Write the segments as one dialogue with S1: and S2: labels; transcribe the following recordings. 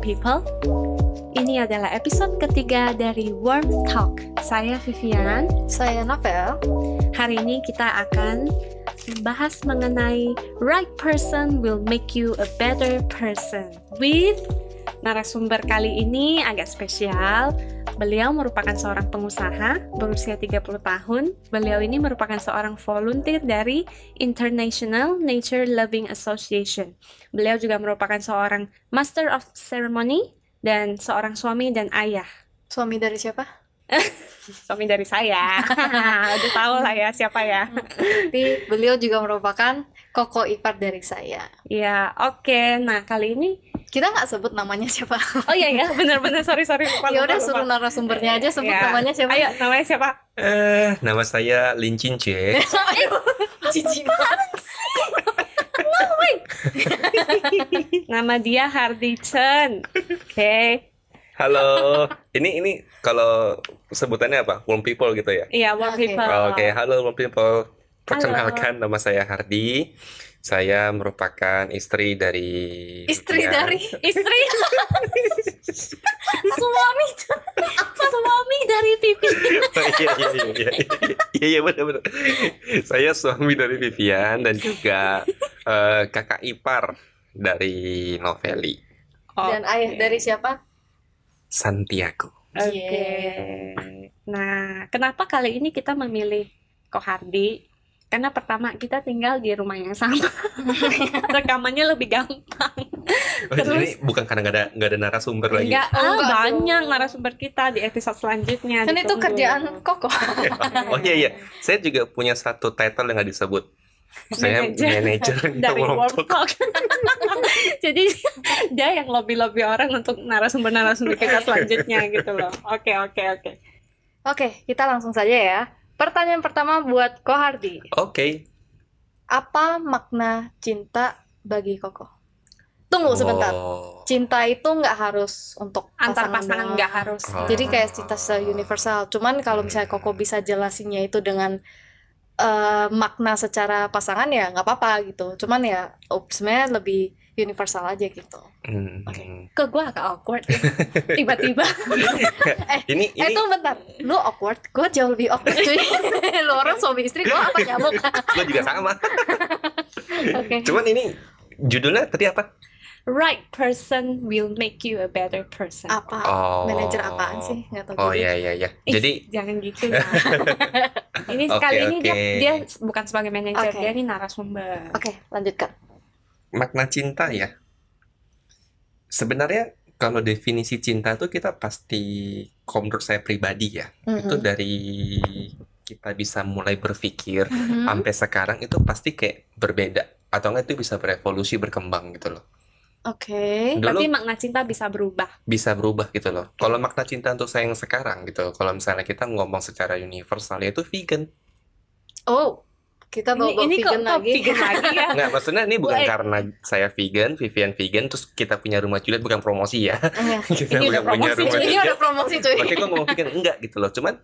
S1: people. Ini adalah episode ketiga dari Warm Talk. Saya Vivian.
S2: Saya Novel.
S1: Hari ini kita akan membahas mengenai right person will make you a better person with narasumber kali ini agak spesial. Beliau merupakan seorang pengusaha berusia 30 tahun. Beliau ini merupakan seorang volunteer dari International Nature Loving Association. Beliau juga merupakan seorang Master of Ceremony dan seorang suami dan ayah.
S2: Suami dari siapa?
S1: Suami dari saya. Udah tahu lah ya siapa ya.
S2: Tapi beliau juga merupakan koko ipar dari saya.
S1: Iya, oke. Nah, kali ini
S2: Kita nggak sebut namanya siapa.
S1: Oh iya ya, benar-benar sorry sorry lupa. lupa,
S2: ya udah
S1: lupa.
S2: suruh narasumbernya aja sebut
S1: Iya.
S2: namanya siapa.
S1: Ayo, namanya siapa?
S3: Eh, nama saya Lin Chin Jie.
S2: Jijik.
S1: Nama dia Hardy Chen. Oke.
S3: Halo. Ini ini kalau sebutannya apa? Warm people gitu ya.
S1: Iya, warm
S2: Oke.
S1: people.
S3: Oke, halo warm people. Perkenalkan nama saya Hardi. Saya merupakan istri dari
S2: Istri
S3: Vivian.
S2: dari
S1: Istri suami suami dari Pipi.
S3: Oh, iya iya iya iya iya iya benar benar. Saya suami dari Vivian dan juga eh, kakak ipar dari Novelli
S1: Oh,
S2: dan
S1: iya.
S2: ayah dari siapa?
S3: Santiago.
S1: Oke.
S2: Yeay.
S1: Nah, kenapa kali ini kita memilih Ko Hardy? Karena pertama kita tinggal di rumah yang sama. Rekamannya lebih gampang.
S3: Oh, jadi bukan karena nggak ada nggak ada narasumber lagi.
S1: Enggak, ah,
S2: Enggak
S1: banyak
S2: dong.
S1: narasumber kita di episode selanjutnya.
S2: Kan itu
S1: ditunggu.
S2: kerjaan koko.
S3: Oh iya iya, saya juga punya satu title yang nggak disebut. Saya
S1: Manager.
S3: manager
S1: dari
S3: Warm
S1: Warm
S3: Talk.
S1: Talk. Jadi dia yang lobby-lobby orang untuk narasumber-narasumber kita selanjutnya gitu loh. Oke, oke, oke.
S2: Oke, kita langsung saja ya. Pertanyaan pertama buat Ko Hardi.
S3: Oke.
S2: Apa makna cinta bagi koko? Tunggu sebentar.
S3: Oh.
S2: Cinta itu nggak harus untuk
S1: Antar pasangan
S2: pasangan
S1: nggak
S2: doang.
S1: harus.
S3: Oh.
S2: Jadi kayak cinta universal. Cuman kalau misalnya
S3: Hmm.
S2: Koko bisa jelasinnya itu dengan eh, makna secara pasangan ya nggak apa-apa gitu. Cuman ya oh, sebenarnya lebih universal aja gitu.
S3: Hmm.
S2: Oke.
S1: Ke gua agak awkward. ya. Tiba-tiba.
S3: Ini
S2: Eh
S3: ini
S2: tuh bentar, lu awkward, gue jauh lebih awkward cuy. lu orang suami istri, gue apa nyamuk? Oke.
S3: lo juga sama. Cuman ini judulnya tadi apa?
S1: Right person will make you a better person.
S2: Apa?
S3: Oh.
S2: Manajer apaan sih? Nggak tahu
S3: Oh
S2: juga.
S3: iya iya iya.
S1: Ih,
S3: Jadi
S1: jangan gitu ya. ini
S3: Oke,
S1: sekali ini dia,
S3: oke.
S1: dia bukan sebagai manajer,
S2: Oke.
S1: dia ini narasumber.
S2: Oke, lanjutkan.
S3: makna cinta ya. Sebenarnya kalau definisi cinta tuh kita pasti kalau menurut saya pribadi ya, itu
S2: Mhm.
S3: dari kita bisa mulai berpikir
S2: Mhm.
S1: Hmm?
S3: sampai sekarang itu pasti kayak berbeda atau enggak itu bisa berevolusi berkembang gitu loh
S2: Oke.
S3: Dulu-
S1: Tapi makna cinta bisa berubah.
S3: bisa berubah gitu loh kalau makna cinta untuk saya yang sekarang gitu kalau misalnya kita ngomong secara universal yaitu vegan
S2: Oh, kita
S1: Ini,
S2: bawa-bawa
S1: ini kok
S2: vegan
S1: kok
S2: lagi.
S1: vegan lagi ya?
S3: nggak maksudnya ini bukan
S1: Wait.
S3: karena saya vegan Vivian vegan terus kita punya rumah Juliet bukan promosi ya
S2: Iya.
S3: kita
S1: Ini udah
S3: bukan punya
S1: promosi,
S3: rumah
S2: ini
S3: Juliet
S2: udah promosi cuy.
S3: berarti kok ngomong vegan enggak gitu loh cuman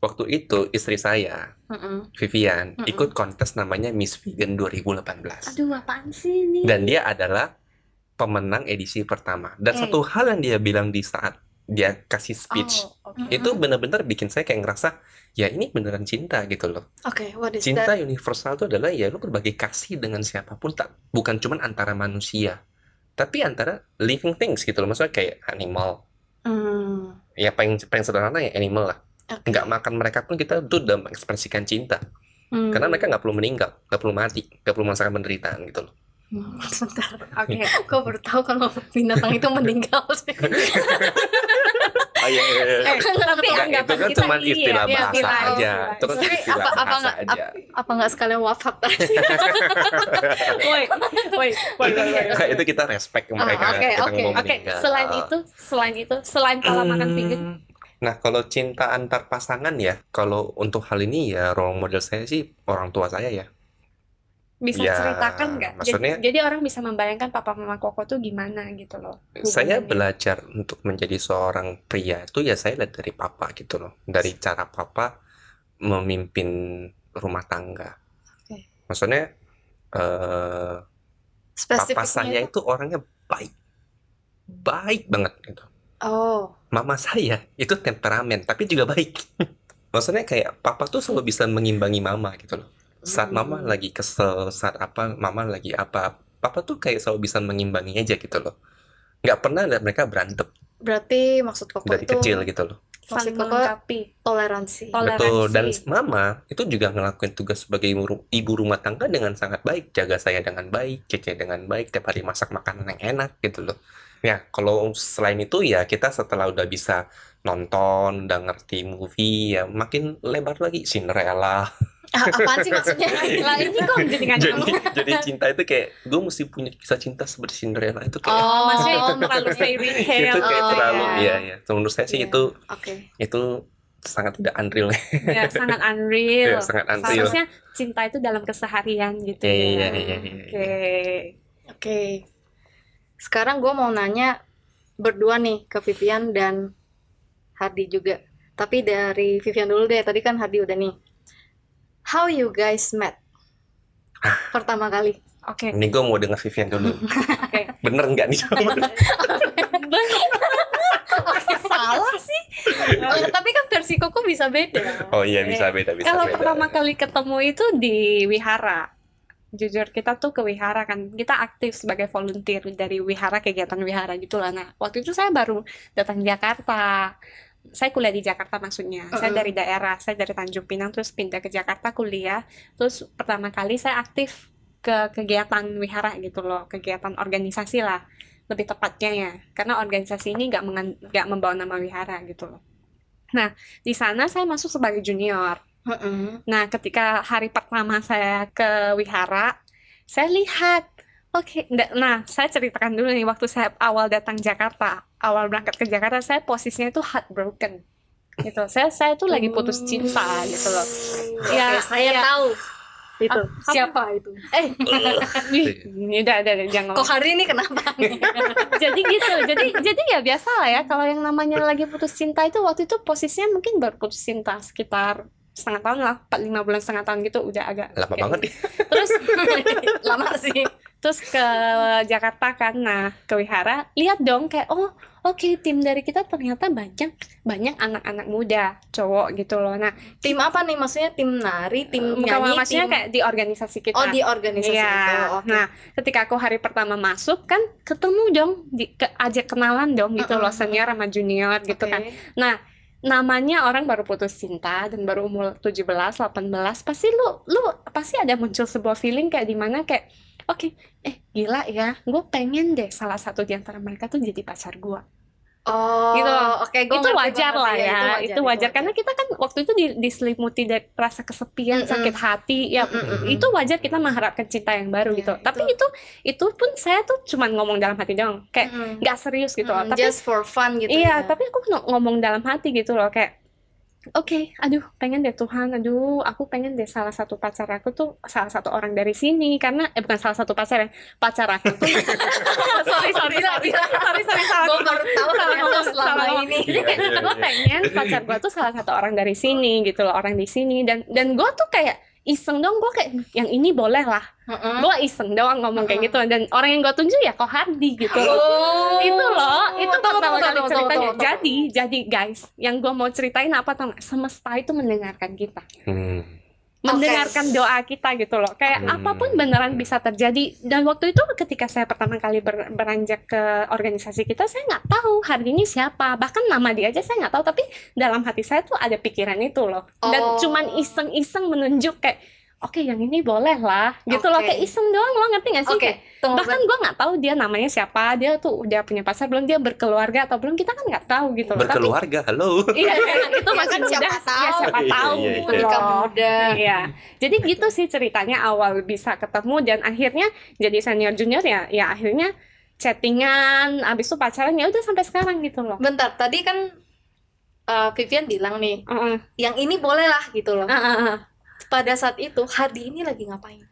S3: waktu itu istri saya
S2: Mhm.
S3: Vivian
S1: Mm-mm.
S3: ikut kontes namanya Miss Vegan 2018
S1: Aduh, apaan sih ini?
S3: dan dia adalah pemenang edisi pertama dan
S2: Hmm.
S3: satu hal yang dia bilang di saat dia kasih speech
S1: Oh, oke.
S2: Mm.
S3: itu benar-benar bikin saya kayak ngerasa ya ini beneran cinta gitu loh
S2: Oke, what is that?
S3: cinta universal itu adalah ya lu berbagi kasih dengan siapapun tak bukan cuman antara manusia tapi antara living things gitu loh maksudnya kayak animal
S2: Hmm.
S3: ya paling paling sederhana ya animal lah
S2: Oke.
S3: nggak makan mereka pun kita tuh udah mengekspresikan cinta
S1: Hmm.
S3: karena mereka nggak perlu meninggal nggak perlu mati nggak perlu merasakan penderitaan gitu loh
S2: Hmm, Sebentar,
S1: Oke.
S2: kok baru tahu kalau binatang itu meninggal sih.
S3: oh, iya, iya, iya.
S1: Eh, tapi
S3: Enggak,
S1: anggapan
S3: itu kan
S1: kita
S3: cuma
S1: iya,
S3: istilah
S1: iya,
S3: bahasa
S1: istilah,
S3: aja.
S1: istilah.
S3: Itu kan
S2: Tapi
S3: istilah
S2: apa- apa
S3: bahasa
S2: nggak-
S3: aja.
S2: Apa nggak sekalian wafat tadi?
S1: Woi, woi, woi, woi, woi.
S3: Kayak itu kita respect ke
S2: Ah,
S3: mereka.
S2: oke,
S3: kita
S2: oke,
S3: ngomong
S1: Oke,
S3: meninggal.
S1: selain itu, selain itu, selain pola makan
S3: Hmm.
S1: vegan,
S3: Nah, kalau cinta antar pasangan ya, kalau untuk hal ini ya role model saya sih orang tua saya ya.
S1: bisa
S3: Ya,
S1: ceritakan nggak? Jadi-
S3: maksudnya-
S1: jadi, orang bisa membayangkan papa mama koko tuh gimana gitu loh.
S3: Saya
S1: Hubungannya.
S3: belajar untuk menjadi seorang pria itu ya saya lihat dari papa gitu loh. Dari cara papa memimpin rumah tangga.
S2: Oke.
S3: Maksudnya eh, papa
S2: Spesifiknya
S3: saya
S2: itu?
S3: itu orangnya baik baik banget gitu.
S2: Oh,
S3: Mama saya itu temperamen tapi juga baik. Maksudnya kayak papa tuh selalu bisa mengimbangi mama gitu loh. Saat mama
S2: Hmm.
S3: lagi kesel, saat apa mama lagi apa, papa tuh kayak selalu bisa mengimbangi aja gitu loh. Nggak pernah lihat mereka berantem
S2: berarti maksud koko
S3: dari
S2: itu
S3: kecil gitu loh.
S1: Saling
S2: Maksud Koko-
S1: melengkapi.
S2: toleransi.
S1: Tol-
S3: Betul, dan
S1: toleransi.
S3: mama itu juga ngelakuin tugas sebagai ibu ru- ibu rumah tangga dengan sangat baik, jaga saya dengan baik, cece dengan baik, tiap hari masak makanan yang enak gitu loh. Ya, kalau selain itu ya kita setelah udah bisa nonton, udah ngerti movie, ya makin lebar lagi Cinderella.
S2: Ah, apaan sih maksudnya?
S1: Lah Nah, ini kok jadi nggak
S3: Jadi
S1: nyambung?
S3: jadi cinta itu kayak gue mesti punya kisah cinta seperti Cinderella itu kayak
S1: Oh, maksudnya itu
S2: Oh.
S1: terlalu fairy tale.
S3: itu kayak
S2: oh,
S3: terlalu
S1: ya.
S3: iya ya. Menurut saya sih
S2: Iya.
S3: itu
S2: Oke.
S3: itu sangat tidak unreal.
S1: Ya, sangat unreal.
S3: Ya, sangat unreal.
S1: Seharusnya cinta itu dalam keseharian gitu
S3: Iya,
S1: ya.
S3: iya, iya, iya, iya.
S1: Oke.
S2: Oke. Sekarang gue mau nanya berdua nih ke Vivian dan Hardi juga. Tapi dari Vivian dulu deh. Tadi kan Hardi udah nih. How you guys met?
S3: Ah.
S2: Pertama kali.
S1: Oke.
S3: Ini gue mau dengar Vivian dulu.
S1: Oke.
S3: Bener nggak nih jawaban?
S2: Salah sih. tapi kan versi Koko bisa beda.
S3: Oh iya bisa beda bisa
S1: Kalau
S3: beda.
S1: pertama kali ketemu itu di wihara. Jujur kita tuh ke wihara kan. Kita aktif sebagai volunteer dari wihara kegiatan wihara gitu lah. Nah, waktu itu saya baru datang Jakarta. Saya kuliah di Jakarta maksudnya. Saya
S2: Mm-mm.
S1: dari daerah, saya dari Tanjung Pinang terus pindah ke Jakarta kuliah. Terus pertama kali saya aktif ke kegiatan wihara gitu loh, kegiatan organisasi lah lebih tepatnya ya. Karena organisasi ini nggak mengen- nggak membawa nama wihara gitu loh. Nah, di sana saya masuk sebagai junior.
S2: Mm-mm.
S1: Nah, ketika hari pertama saya ke wihara, saya lihat, oke, nda- nah, saya ceritakan dulu nih, waktu saya awal datang Jakarta, awal berangkat ke Jakarta, saya posisinya itu heartbroken, gitu. Saya saya itu lagi putus cinta, gitu loh. Ya,
S2: Hmm. Oke, saya
S1: ya. Ah,
S2: tahu. Itu
S1: Apa?
S2: siapa itu?
S1: Eh,
S3: Iya.
S1: wih, ini udah, udah, udah, jangan.
S2: Kok hari ini kenapa?
S1: Jadi gitu, jadi jadi ya biasa lah ya, kalau yang namanya lagi putus cinta itu waktu itu posisinya mungkin baru putus cinta sekitar setengah tahun lah, 4, 5 bulan setengah tahun gitu, udah agak
S3: lama
S1: kayak
S3: banget ya.
S1: gitu.
S3: nih.
S1: Terus
S2: Lama sih.
S1: terus ke Jakarta kan nah ke wihara lihat dong kayak oh oke tim dari kita ternyata banyak banyak anak-anak muda cowok gitu loh nah
S2: Tim apa nih? Maksudnya tim nari, tim
S1: bukan
S2: nyanyi,
S1: maksudnya
S2: tim-
S1: kayak di organisasi kita
S2: Oh, di organisasi
S1: Iya.
S2: itu. Oke.
S1: Nah, ketika aku hari pertama masuk kan ketemu dong, di, ke, ajak kenalan dong gitu
S2: Mm-mm.
S1: loh senior sama junior gitu
S2: Oke.
S1: kan. Namanya orang baru putus cinta dan baru umur 17, 18, pasti lu lu pasti ada muncul sebuah feeling kayak di mana kayak Oke, eh gila ya, gue pengen deh salah satu di antara mereka tuh jadi pacar gua
S2: Oh,
S1: Gitu.
S2: Oke, gua
S1: itu
S2: ngerti
S1: wajar
S2: banget.
S1: lah
S2: Iya,
S1: ya, itu, wajar, karena kita kan waktu itu di- diselimuti dari rasa kesepian,
S2: Mm-mm.
S1: sakit hati, ya
S2: Mm-mm.
S1: itu wajar kita mengharapkan cinta yang baru
S2: Iya,
S1: gitu. Tapi
S2: itu.
S1: itu itu pun saya tuh cuman ngomong dalam hati doang, kayak
S2: Mm-mm.
S1: nggak serius gitu. loh.
S2: Mm-mm,
S1: Tapi
S2: just for fun gitu.
S1: iya,
S2: ya.
S1: tapi aku kena- ngomong dalam hati gitu loh, kayak Oke, aduh, pengen deh Tuhan, aduh, aku pengen deh salah satu pacar aku tuh salah satu orang dari sini karena eh bukan salah satu pacar ya, pacar aku tuh. sorry, sorry,
S2: Gila,
S1: sorry,
S2: gila.
S1: sorry, sorry, salah
S2: Gua baru tahu
S1: Salah
S2: ternyata
S1: ngomong,
S2: selama
S1: salah ngomong.
S2: ini.
S3: Iya, iya, iya.
S1: gue pengen pacar gue tuh salah satu orang dari sini gitu loh orang di sini dan dan gue tuh kayak iseng dong gue kayak yang ini boleh lah
S2: Mm-mm.
S1: gue iseng doang ngomong kayak gitu dan orang yang gue tunjuk ya kok Hardi gitu loh
S2: Oh.
S1: itu loh itu
S2: Tunggu,
S1: pertama
S2: tunggu,
S1: kali
S2: tunggu,
S1: ceritanya
S2: tunggu, tunggu.
S1: jadi jadi guys yang gue mau ceritain apa tau nggak? semesta itu mendengarkan kita
S3: Hmm.
S1: mendengarkan doa kita gitu loh kayak
S3: Hmm.
S1: apapun beneran bisa terjadi dan waktu itu ketika saya pertama kali ber- beranjak ke organisasi kita saya nggak tahu hari ini siapa bahkan nama dia aja saya nggak tahu tapi dalam hati saya tuh ada pikiran itu loh dan
S2: Oh.
S1: cuman iseng-iseng menunjuk kayak oke yang ini boleh lah gitu loh
S2: Oke.
S1: kayak iseng doang lo ngerti nggak sih
S2: Oke,
S1: Kayak,
S3: Oh,
S2: tunggu.
S1: bahkan gue nggak tahu dia namanya siapa dia tuh udah punya pacar belum dia berkeluarga atau belum kita kan nggak tahu gitu loh tapi
S3: Berkeluarga, halo.
S1: iya itu
S2: Ya
S1: masih
S2: kan siapa
S1: muda
S2: tahu.
S1: ya siapa
S3: Iya,
S1: tahu
S3: iya,
S1: gitu
S3: iya.
S2: Nikah
S1: loh.
S2: muda.
S1: Iya, jadi gitu sih ceritanya awal bisa ketemu dan akhirnya jadi senior junior ya, ya akhirnya chattingan, abis itu pacaran ya udah sampai sekarang gitu loh.
S2: Bentar, tadi kan eh, Vivian bilang nih,
S1: Heeh,
S2: yang ini boleh lah gitu loh.
S1: heeh, heeh.
S2: Pada saat itu Hardi ini lagi ngapain?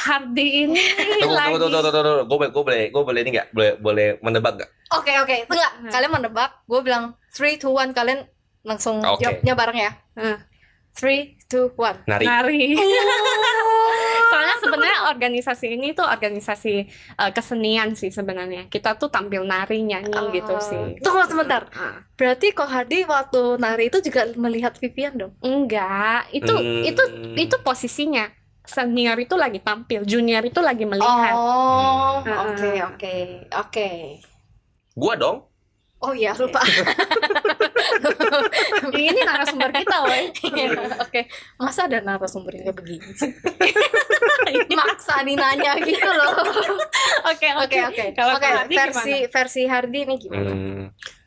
S1: Hardi ini
S3: Tunggu,
S1: lagi.
S3: tunggu, tunggu, tunggu, tunggu, tunggu. Gue boleh, gue boleh, gue boleh ini nggak? Boleh, boleh menebak nggak?
S2: Oke oke, enggak.
S1: Hmm.
S2: Kalian menebak, gue bilang 3, 2, 1, kalian langsung
S3: Oke.
S2: jawabnya bareng ya.
S1: Hmm.
S2: 3, 2, 1
S3: Nari.
S1: Nari. Soalnya sebenarnya organisasi ini tuh organisasi eh, kesenian sih sebenarnya. Kita tuh tampil nari nyanyi
S2: Oh.
S1: gitu sih.
S2: Tunggu sebentar.
S1: Ah.
S2: Berarti kok Hardi waktu nari itu juga melihat Vivian dong?
S1: Enggak, itu
S3: Hmm.
S1: itu itu posisinya senior itu lagi tampil, junior itu lagi melihat.
S2: Oh,
S1: Hmm.
S2: oke oke oke.
S3: Gua dong.
S2: Oh iya lupa.
S1: Ini narasumber kita, woi.
S2: Iya, Oke, masa ada narasumber yang kayak begini sih? Maksa nih nanya gitu loh.
S1: Oke,
S2: Oke,
S1: oke.
S2: oke.
S1: Kalau
S2: Oke,
S1: Hardi
S2: versi versi Hardi ini gimana?
S3: Hmm,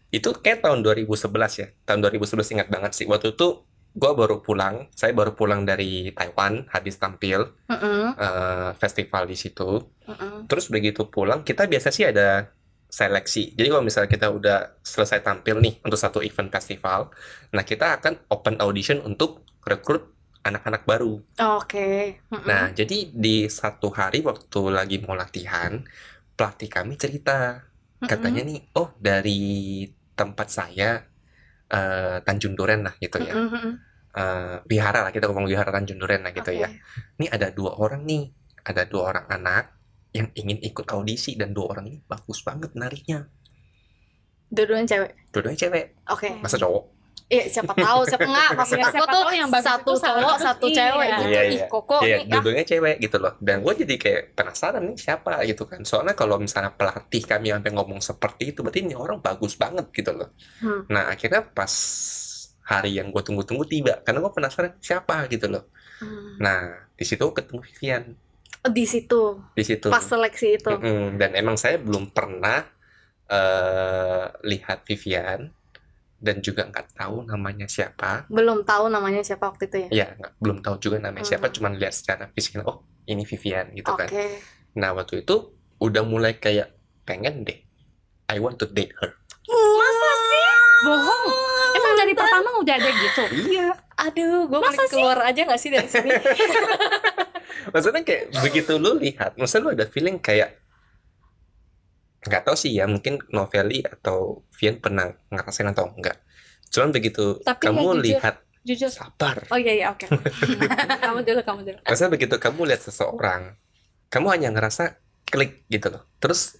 S3: itu kayak tahun 2011 ya. Tahun 2011 ingat banget sih. Waktu itu gue baru pulang. Saya baru pulang dari Taiwan habis tampil
S2: Mm-mm,
S3: eh, festival di situ.
S2: mm-mm.
S3: Terus begitu pulang kita biasa sih ada seleksi. Jadi kalau misalnya kita udah selesai tampil nih untuk satu event festival, nah kita akan open audition untuk rekrut anak-anak baru.
S2: Oke. Mm-mm.
S3: Nah, jadi di satu hari waktu lagi mau latihan, pelatih kami cerita
S2: Mm-mm.
S3: katanya nih oh dari tempat saya eh, Tanjung Duren lah gitu ya
S2: Mm-mm, mm-mm.
S3: Eh, wihara lah kita ngomong wihara Tanjung Duren lah gitu
S2: Oke.
S3: ya ini ada dua orang nih ada dua orang anak yang ingin ikut audisi dan dua orang ini bagus banget nariknya
S2: Dua-duanya cewek.
S3: dua-duanya cewek
S2: Oke.
S3: masa cowok
S2: Iya, siapa tahu siapa enggak maksud
S1: Iya,
S2: aku
S1: siapa
S2: tuh
S1: tahu yang bagus
S2: satu
S1: itu salah
S2: cowok,
S1: satu.
S2: satu
S1: Iya.
S2: cewek gitu.
S3: Iya,
S2: Ih,
S3: iya.
S2: Koko
S3: Iya,
S2: nih. ah.
S3: dua-duanya cewek gitu loh dan gue jadi kayak penasaran nih siapa gitu kan soalnya kalau misalnya pelatih kami sampai ngomong seperti itu berarti ini orang bagus banget gitu loh
S2: Hmm.
S3: nah akhirnya pas hari yang gue tunggu-tunggu tiba karena gue penasaran siapa gitu loh
S2: Hmm.
S3: nah di situ gua ketemu Vivian
S2: Di situ
S3: di situ
S2: pas seleksi
S1: Gitu.
S2: itu.
S3: Mm-mm. dan emang saya belum pernah eh, lihat Vivian dan juga nggak tahu namanya siapa
S2: Belum tahu namanya siapa waktu itu ya.
S3: ya nggak- belum tahu juga namanya siapa
S2: Hmm.
S3: cuman lihat secara fisik oh ini Vivian gitu kan
S2: Oke.
S3: Nah, waktu itu udah mulai kayak pengen deh. I want to date her.
S1: Masa sih? Bohong. Emang dari pertama udah ada gitu.
S3: Iya.
S2: Aduh, gue
S1: Masa
S2: mending keluar aja gak sih dari sini?
S3: Maksudnya kayak begitu lu lihat, maksudnya lu ada feeling kayak nggak tahu sih ya, mungkin Novelli atau Vian pernah ngerasain atau enggak. Cuman begitu
S1: Tapi ya jujur.
S3: kamu lihat
S1: Jujur.
S3: sabar.
S1: Oh iya iya oke. kamu dulu kamu dulu.
S3: Maksudnya begitu kamu lihat seseorang, kamu hanya ngerasa klik gitu loh. Terus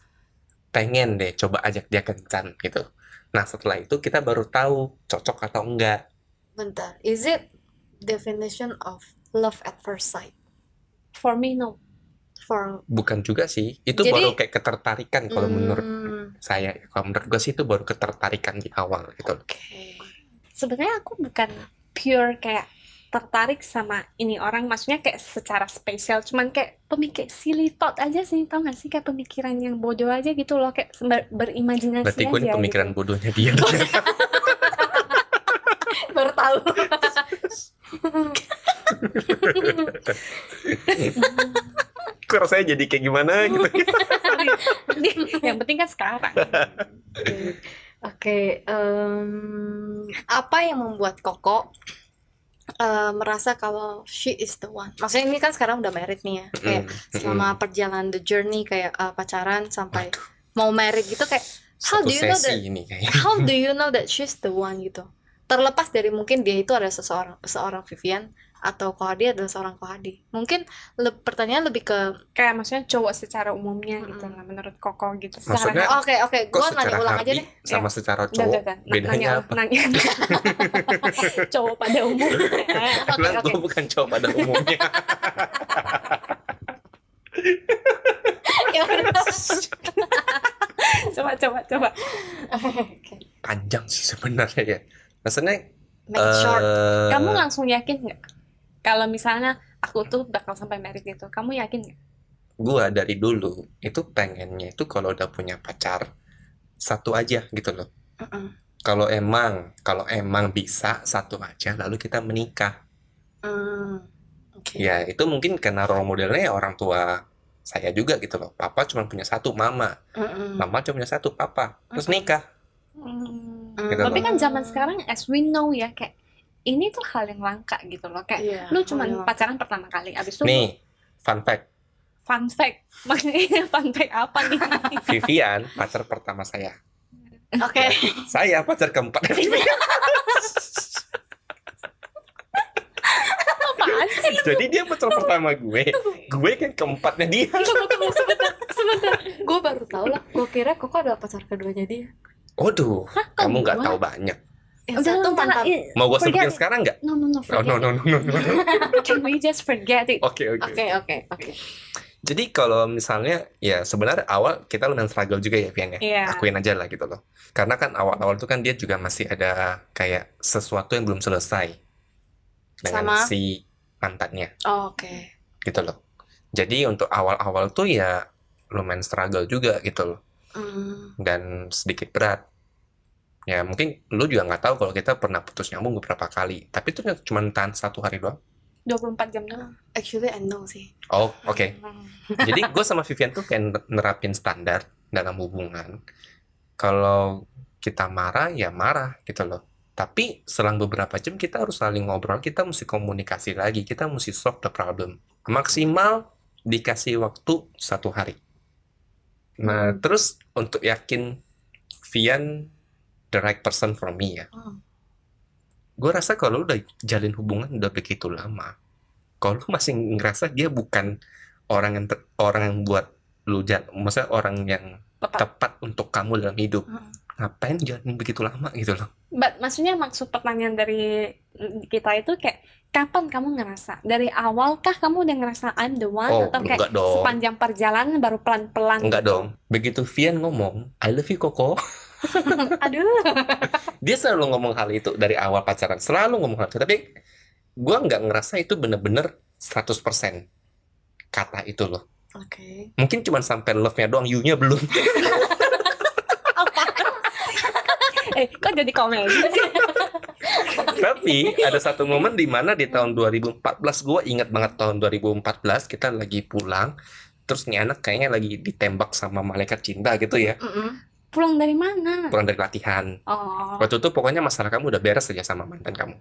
S3: pengen deh coba ajak dia kencan gitu. Nah, setelah itu kita baru tahu cocok atau enggak.
S2: Bentar, is it definition of love at first sight?
S1: For me no.
S2: For
S3: bukan juga sih itu
S2: Jadi-
S3: baru kayak ketertarikan kalau menurut
S2: Hmm,
S3: saya kalau menurut gue sih itu baru ketertarikan di awal gitu loh.
S2: Oke.
S1: Sebenarnya aku bukan pure kayak tertarik sama ini orang maksudnya kayak secara spesial cuman kayak pemikir silly thought aja sih tau gak sih kayak pemikiran yang bodoh aja gitu loh kayak ber- berimajinasi
S3: berarti gue ini
S1: aja
S3: pemikiran
S1: gitu.
S3: bodohnya dia
S2: Baru tahu.
S3: gue rasanya jadi kayak gimana gitu
S1: Sorry. yang penting kan sekarang
S2: Oke, em, apa yang membuat Koko eh, merasa kalau she is the one? Maksudnya ini kan sekarang udah married nih ya,
S3: Hmm,
S2: kayak selama perjalanan the journey kayak eh, pacaran sampai mau married gitu kayak how
S3: satu
S2: do you know that
S3: sesi ini kayaknya
S2: how do you know that she's the one gitu? Terlepas dari mungkin dia itu ada seseorang seorang Vivian atau Kohadi adalah seorang Kohadi. Mungkin le- pertanyaan lebih ke
S1: kayak maksudnya cowok secara umumnya gitu
S2: Mm-mm.
S1: lah menurut Koko gitu
S3: Maksudnya-
S1: secara
S2: oke oke,
S3: Eh, kok
S2: gua nanya
S3: secara
S2: ulang aja
S3: hati
S2: deh. Ya.
S3: sama secara
S1: Udah,
S3: cowok
S1: udah, udah. Na-
S3: bedanya
S1: nanya,
S3: apa
S1: nanya. cowok pada umumnya
S2: Oke,
S3: karena
S2: oke.
S3: gue bukan cowok pada umumnya
S2: Ya udah.
S1: coba coba coba
S2: Oke.
S3: panjang sih sebenarnya ya maksudnya
S2: Make it short.
S3: eh,
S1: kamu langsung yakin nggak kalau misalnya aku tuh bakal sampai married gitu kamu yakin nggak
S3: gua dari dulu itu pengennya itu kalau udah punya pacar satu aja gitu loh.
S2: Mm-mm.
S3: Kalau emang kalau emang bisa satu aja lalu kita menikah.
S2: Hmm. Oke.
S3: Ya itu mungkin karena role modelnya ya orang tua saya juga gitu loh. Papa cuma punya satu, mama.
S2: Mm-mm.
S3: Mama cuma punya satu, papa. Terus
S2: Mm-mm.
S3: nikah.
S1: Hmm.
S2: Mm.
S3: Gitu
S1: tapi kan zaman sekarang as we know ya kayak ini tuh hal yang langka gitu loh kayak
S2: Iya,
S1: lu cuman
S2: bener.
S1: pacaran pertama kali abis itu lu-
S3: Nih, fun fact.
S1: fun fact maksudnya fun fact apa nih
S3: Vivian pacar pertama saya.
S2: Oke.
S3: Saya pacar keempat.
S1: apaan sih
S3: Jadi dia betul pertama gue. Gue kan keempatnya dia.
S2: tunggu tunggu sebentar sebentar gue baru tahu lah gue kira koko adalah pacar keduanya dia
S3: Waduh, kamu nggak
S1: kedua?
S3: tahu banyak.
S2: yang
S1: Udah lah,
S2: satu
S1: ntar
S2: mantan
S1: lah,
S2: oke
S1: i-
S3: Mau gue sebutin
S1: Forget.
S3: sekarang nggak?
S1: No, no, no,
S3: Oh,
S1: forget
S3: no, no, no, no, no.
S1: it. Can we just forget it?
S3: Oke, oke.
S2: oke oke
S3: Jadi kalau misalnya, ya sebenarnya awal kita lumayan struggle juga ya, Pian ya.
S1: Iya.
S3: Akuin aja lah gitu loh. Karena kan awal-awal itu kan dia juga masih ada kayak sesuatu yang belum selesai.
S2: Sama.
S3: Dengan si mantannya.
S2: oke
S3: gitu loh. Jadi untuk awal-awal tuh ya lumayan struggle juga gitu loh
S2: Hmm.
S3: dan sedikit berat. Ya mungkin lu juga nggak tahu kalau kita pernah putus nyambung beberapa kali, tapi itu cuma tahan satu hari doang.
S1: 24 jam doang.
S2: actually I know sih
S3: Oh oke. Jadi gue sama Vivian tuh kayak nerapin standar dalam hubungan. Kalau kita marah ya marah gitu loh. Tapi selang beberapa jam kita harus saling ngobrol, kita mesti komunikasi lagi, kita mesti solve the problem. Maksimal dikasih waktu satu hari. Nah, terus untuk yakin Vian the right person for me ya.
S2: Hmm.
S3: Gue rasa kalau lu udah jalin hubungan udah begitu lama, kalau lu masih ngerasa dia bukan orang yang te- orang yang buat lu jal, maksudnya orang yang
S1: Tepat.
S3: tepat untuk kamu dalam hidup,
S2: Hmm.
S3: ngapain jalin begitu lama gitu loh?
S1: But maksudnya maksud pertanyaan dari mm, kita itu kayak kapan kamu ngerasa? Dari awal kah kamu udah ngerasa I'm the one
S3: Oh,
S1: atau
S3: belum,
S1: kayak
S3: enggak dong.
S1: sepanjang perjalanan baru pelan-pelan?
S3: Enggak
S1: gitu?
S3: dong. Begitu Vian ngomong, I love you Koko,
S1: Aduh.
S3: dia selalu ngomong hal itu dari awal pacaran, selalu ngomong hal itu. Tapi gue nggak ngerasa itu bener-bener 100% kata itu loh.
S2: oke
S3: Mungkin cuma sampai love-nya doang, you-nya belum.
S1: Eh, kok jadi komedi sih?
S3: Tapi ada satu momen di mana di tahun 2014 gue ingat banget tahun 2014 kita lagi pulang terus nih anak kayaknya lagi ditembak sama malaikat cinta gitu ya
S2: Mm-mm.
S1: Pulang dari mana?
S3: pulang dari latihan
S1: Oh.
S3: waktu itu pokoknya masalah kamu udah beres aja sama mantan kamu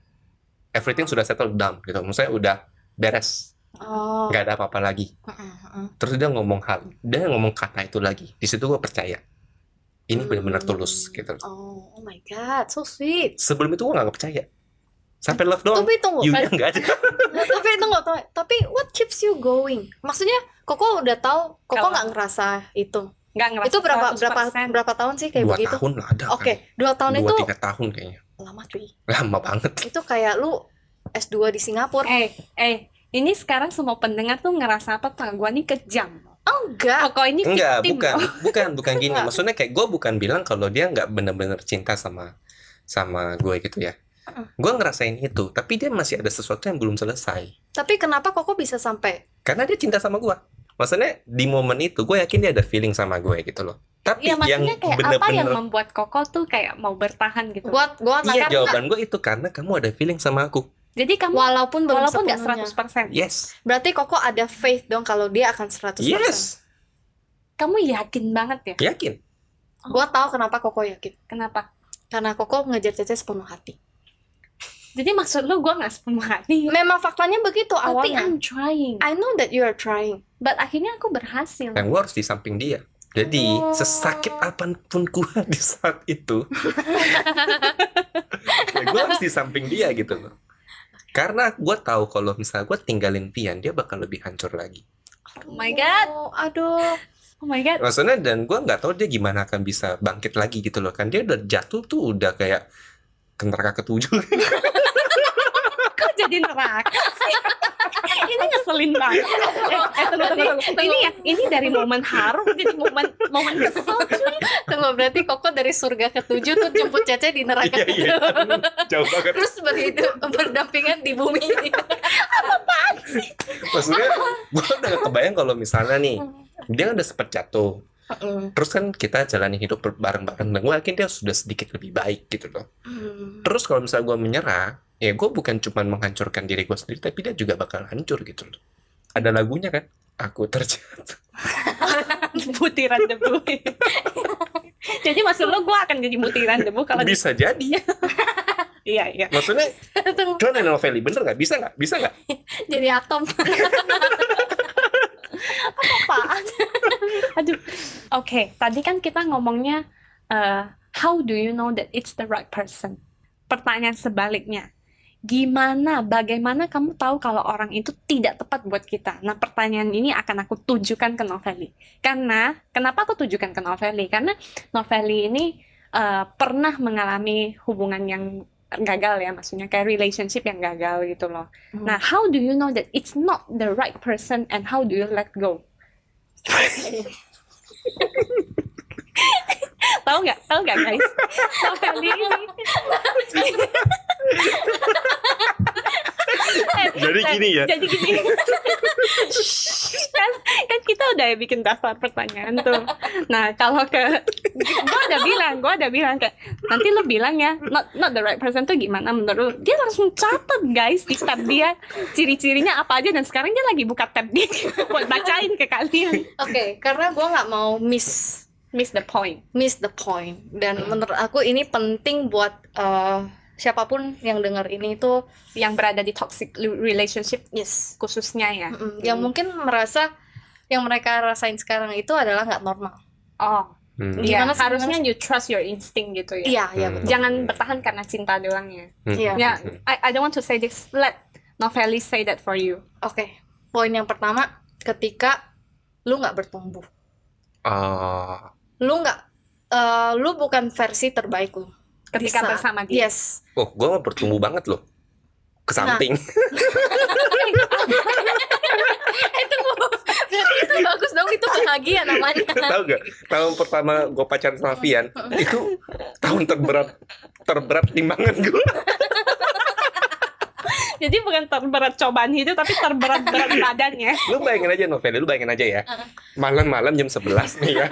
S3: everything sudah settle down gitu maksudnya udah beres
S2: oh
S3: nggak ada apa-apa lagi
S2: Mm-mm, mm-mm.
S3: terus dia ngomong hal dia ngomong kata itu lagi di situ gue percaya ini benar-benar
S2: Hmm.
S3: tulus gitu
S2: oh oh my god so sweet
S3: sebelum itu gue nggak percaya sampai love doang
S2: tapi tunggu eh,
S3: you-nya nggak ada
S2: tapi itu nggak tahu tapi what keeps you going maksudnya koko udah tahu koko
S1: Kalau-
S2: nggak ngerasa itu
S1: Nggak ngerasa
S2: itu berapa berapa
S1: 100%.
S2: berapa tahun sih kayak
S3: dua
S2: begitu
S3: tahun lah ada
S2: oke dua
S3: kan
S2: tahun
S3: dua
S2: itu
S3: tiga tahun kayaknya
S2: lama cuy
S3: lama banget
S2: itu kayak lu S2 di Singapura
S1: Eh, eh, ini sekarang semua pendengar tuh ngerasa apa tuh? Gua nih kejam.
S2: enggak
S1: Koko ini
S3: enggak
S1: victim.
S3: bukan bukan bukan gini
S2: Enggak.
S3: maksudnya kayak gue bukan bilang kalau dia nggak bener-bener cinta sama sama gue gitu ya
S2: Heeh.
S3: gue ngerasain itu tapi dia masih ada sesuatu yang belum selesai
S2: tapi kenapa koko bisa sampai
S3: karena dia cinta sama gue maksudnya di momen itu gue yakin dia ada feeling sama gue gitu loh tapi
S1: Iya,
S3: yang
S1: maksudnya kayak apa yang
S3: bener-bener
S1: membuat Koko tuh kayak mau bertahan gitu?
S2: buat gua kan, karena
S3: iya jawaban gue itu karena kamu ada feeling sama aku
S1: Jadi kamu
S2: walaupun belum
S1: walaupun nggak 100%,
S2: sepenuhnya.
S3: yes
S2: berarti koko ada faith dong kalau dia akan 100%
S3: yes
S1: kamu yakin banget ya?
S3: yakin
S2: gua tahu kenapa koko yakin
S1: Kenapa?
S2: karena koko ngejar cece sepenuh hati
S1: Jadi maksud lu gua nggak sepenuh hati.
S2: memang faktanya begitu
S1: Tapi
S2: awalnya
S1: I'm trying.
S2: I know that you are trying
S1: But akhirnya aku berhasil.
S3: dan gue harus di samping dia jadi
S2: Oh.
S3: sesakit apapun gue di saat itu ya gue harus di samping dia gitu loh karena gue tahu kalau misalnya gue tinggalin Pian dia bakal lebih hancur lagi
S1: Oh my god.
S2: Oh, aduh
S1: Oh my god.
S3: maksudnya dan gue nggak tahu dia gimana akan bisa bangkit lagi gitu loh kan dia udah jatuh tuh udah kayak neraka ketujuh
S1: Kok jadi neraka sih? ini ngeselin banget. Eh, eh, tunggu, tunggu, tunggu. Ini ya, ini dari momen harum jadi momen momen kesel.
S2: Tunggu berarti Koko dari surga ketujuh tuh jemput Cece di neraka
S3: iya iya jauh banget
S2: terus berhidup berdampingan di bumi ini.
S3: maksudnya gue udah nggak kebayang kalau misalnya nih
S2: Hmm.
S3: dia kan udah sempet jatuh terus kan kita jalani hidup ber- bareng-bareng dan gue yakin dia sudah sedikit lebih baik gitu loh terus kalau misalnya gue menyerah ya gue bukan cuma menghancurkan diri gue sendiri tapi dia juga bakal hancur gitu loh ada lagunya kan aku terjatuh
S1: Butiran debu. jadi maksud lu gua akan jadi butiran debu kalau di-
S3: bisa jadi
S1: Iya, iya.
S3: maksudnya
S2: Tunggu,
S3: John and Novelli bener nggak bisa nggak bisa nggak
S2: jadi atom. Apaan?
S1: Aduh. Oke, tadi kan kita ngomongnya eh, how do you know that it's the right person? Pertanyaan sebaliknya. gimana, bagaimana kamu tahu kalau orang itu tidak tepat buat kita? Nah, pertanyaan ini akan aku tujukan ke Novelli. Karena, kenapa aku tujukan ke Novelli? Karena Novelli ini eh, pernah mengalami hubungan yang gagal ya, maksudnya kayak relationship yang gagal gitu loh.
S2: Hmm.
S1: Nah, how do you know that it's not the right person and how do you let go? tahu nggak? Tahu nggak guys? Novelli ini Eh,
S3: Jadi
S1: eh,
S3: gini ya?
S1: Jadi gini. kan, kan kita udah bikin daftar pertanyaan tuh. Nah, kalau ke gua udah bilang, gua udah bilang kayak nanti lu bilang ya, not not the right person tuh gimana menurut lu? Dia langsung catat guys di tab dia ciri-cirinya apa aja dan sekarang dia lagi buka tab dia buat bacain ke kalian.
S2: Oke, karena gue nggak mau miss
S1: Miss the point.
S2: miss the point. Dan
S3: Hmm.
S2: menurut aku ini penting buat eh, siapapun yang dengar ini tuh
S1: Yang berada di toxic relationship
S2: yes,
S1: khususnya ya.
S2: Mm-mm. yang mungkin merasa yang mereka rasain sekarang itu adalah nggak normal.
S1: Oh,
S3: Hmm.
S1: iya.
S2: Gimana sih,
S1: harusnya you trust your instinct gitu ya.
S2: Iya, iya
S3: Hmm.
S2: betul.
S1: Jangan bertahan karena cinta doang ya.
S3: Hmm.
S2: Iya.
S1: Yeah, I, I don't want to say this. Let Novelli say that for you.
S2: Oke, poin yang pertama ketika lu nggak bertumbuh,
S3: Ah,
S2: lu nggak eh, lu bukan versi terbaik lu. Di
S1: Ketika
S2: saat-
S1: bersama dia.
S2: Yes.
S3: oh, gue mah bertumbuh banget loh. Ke
S2: Nah.
S3: samping.
S2: Berarti itu bagus dong, itu bahagia namanya.
S3: tahu gak? Tahun pertama gue pacaran sama Vian itu tahun terberat terberat timbangan gue.
S1: Jadi bukan terberat cobaan hidup, tapi terberat berat badannya.
S3: Lu bayangin aja novel, lu bayangin aja ya. Malam-malam jam 11 nih ya.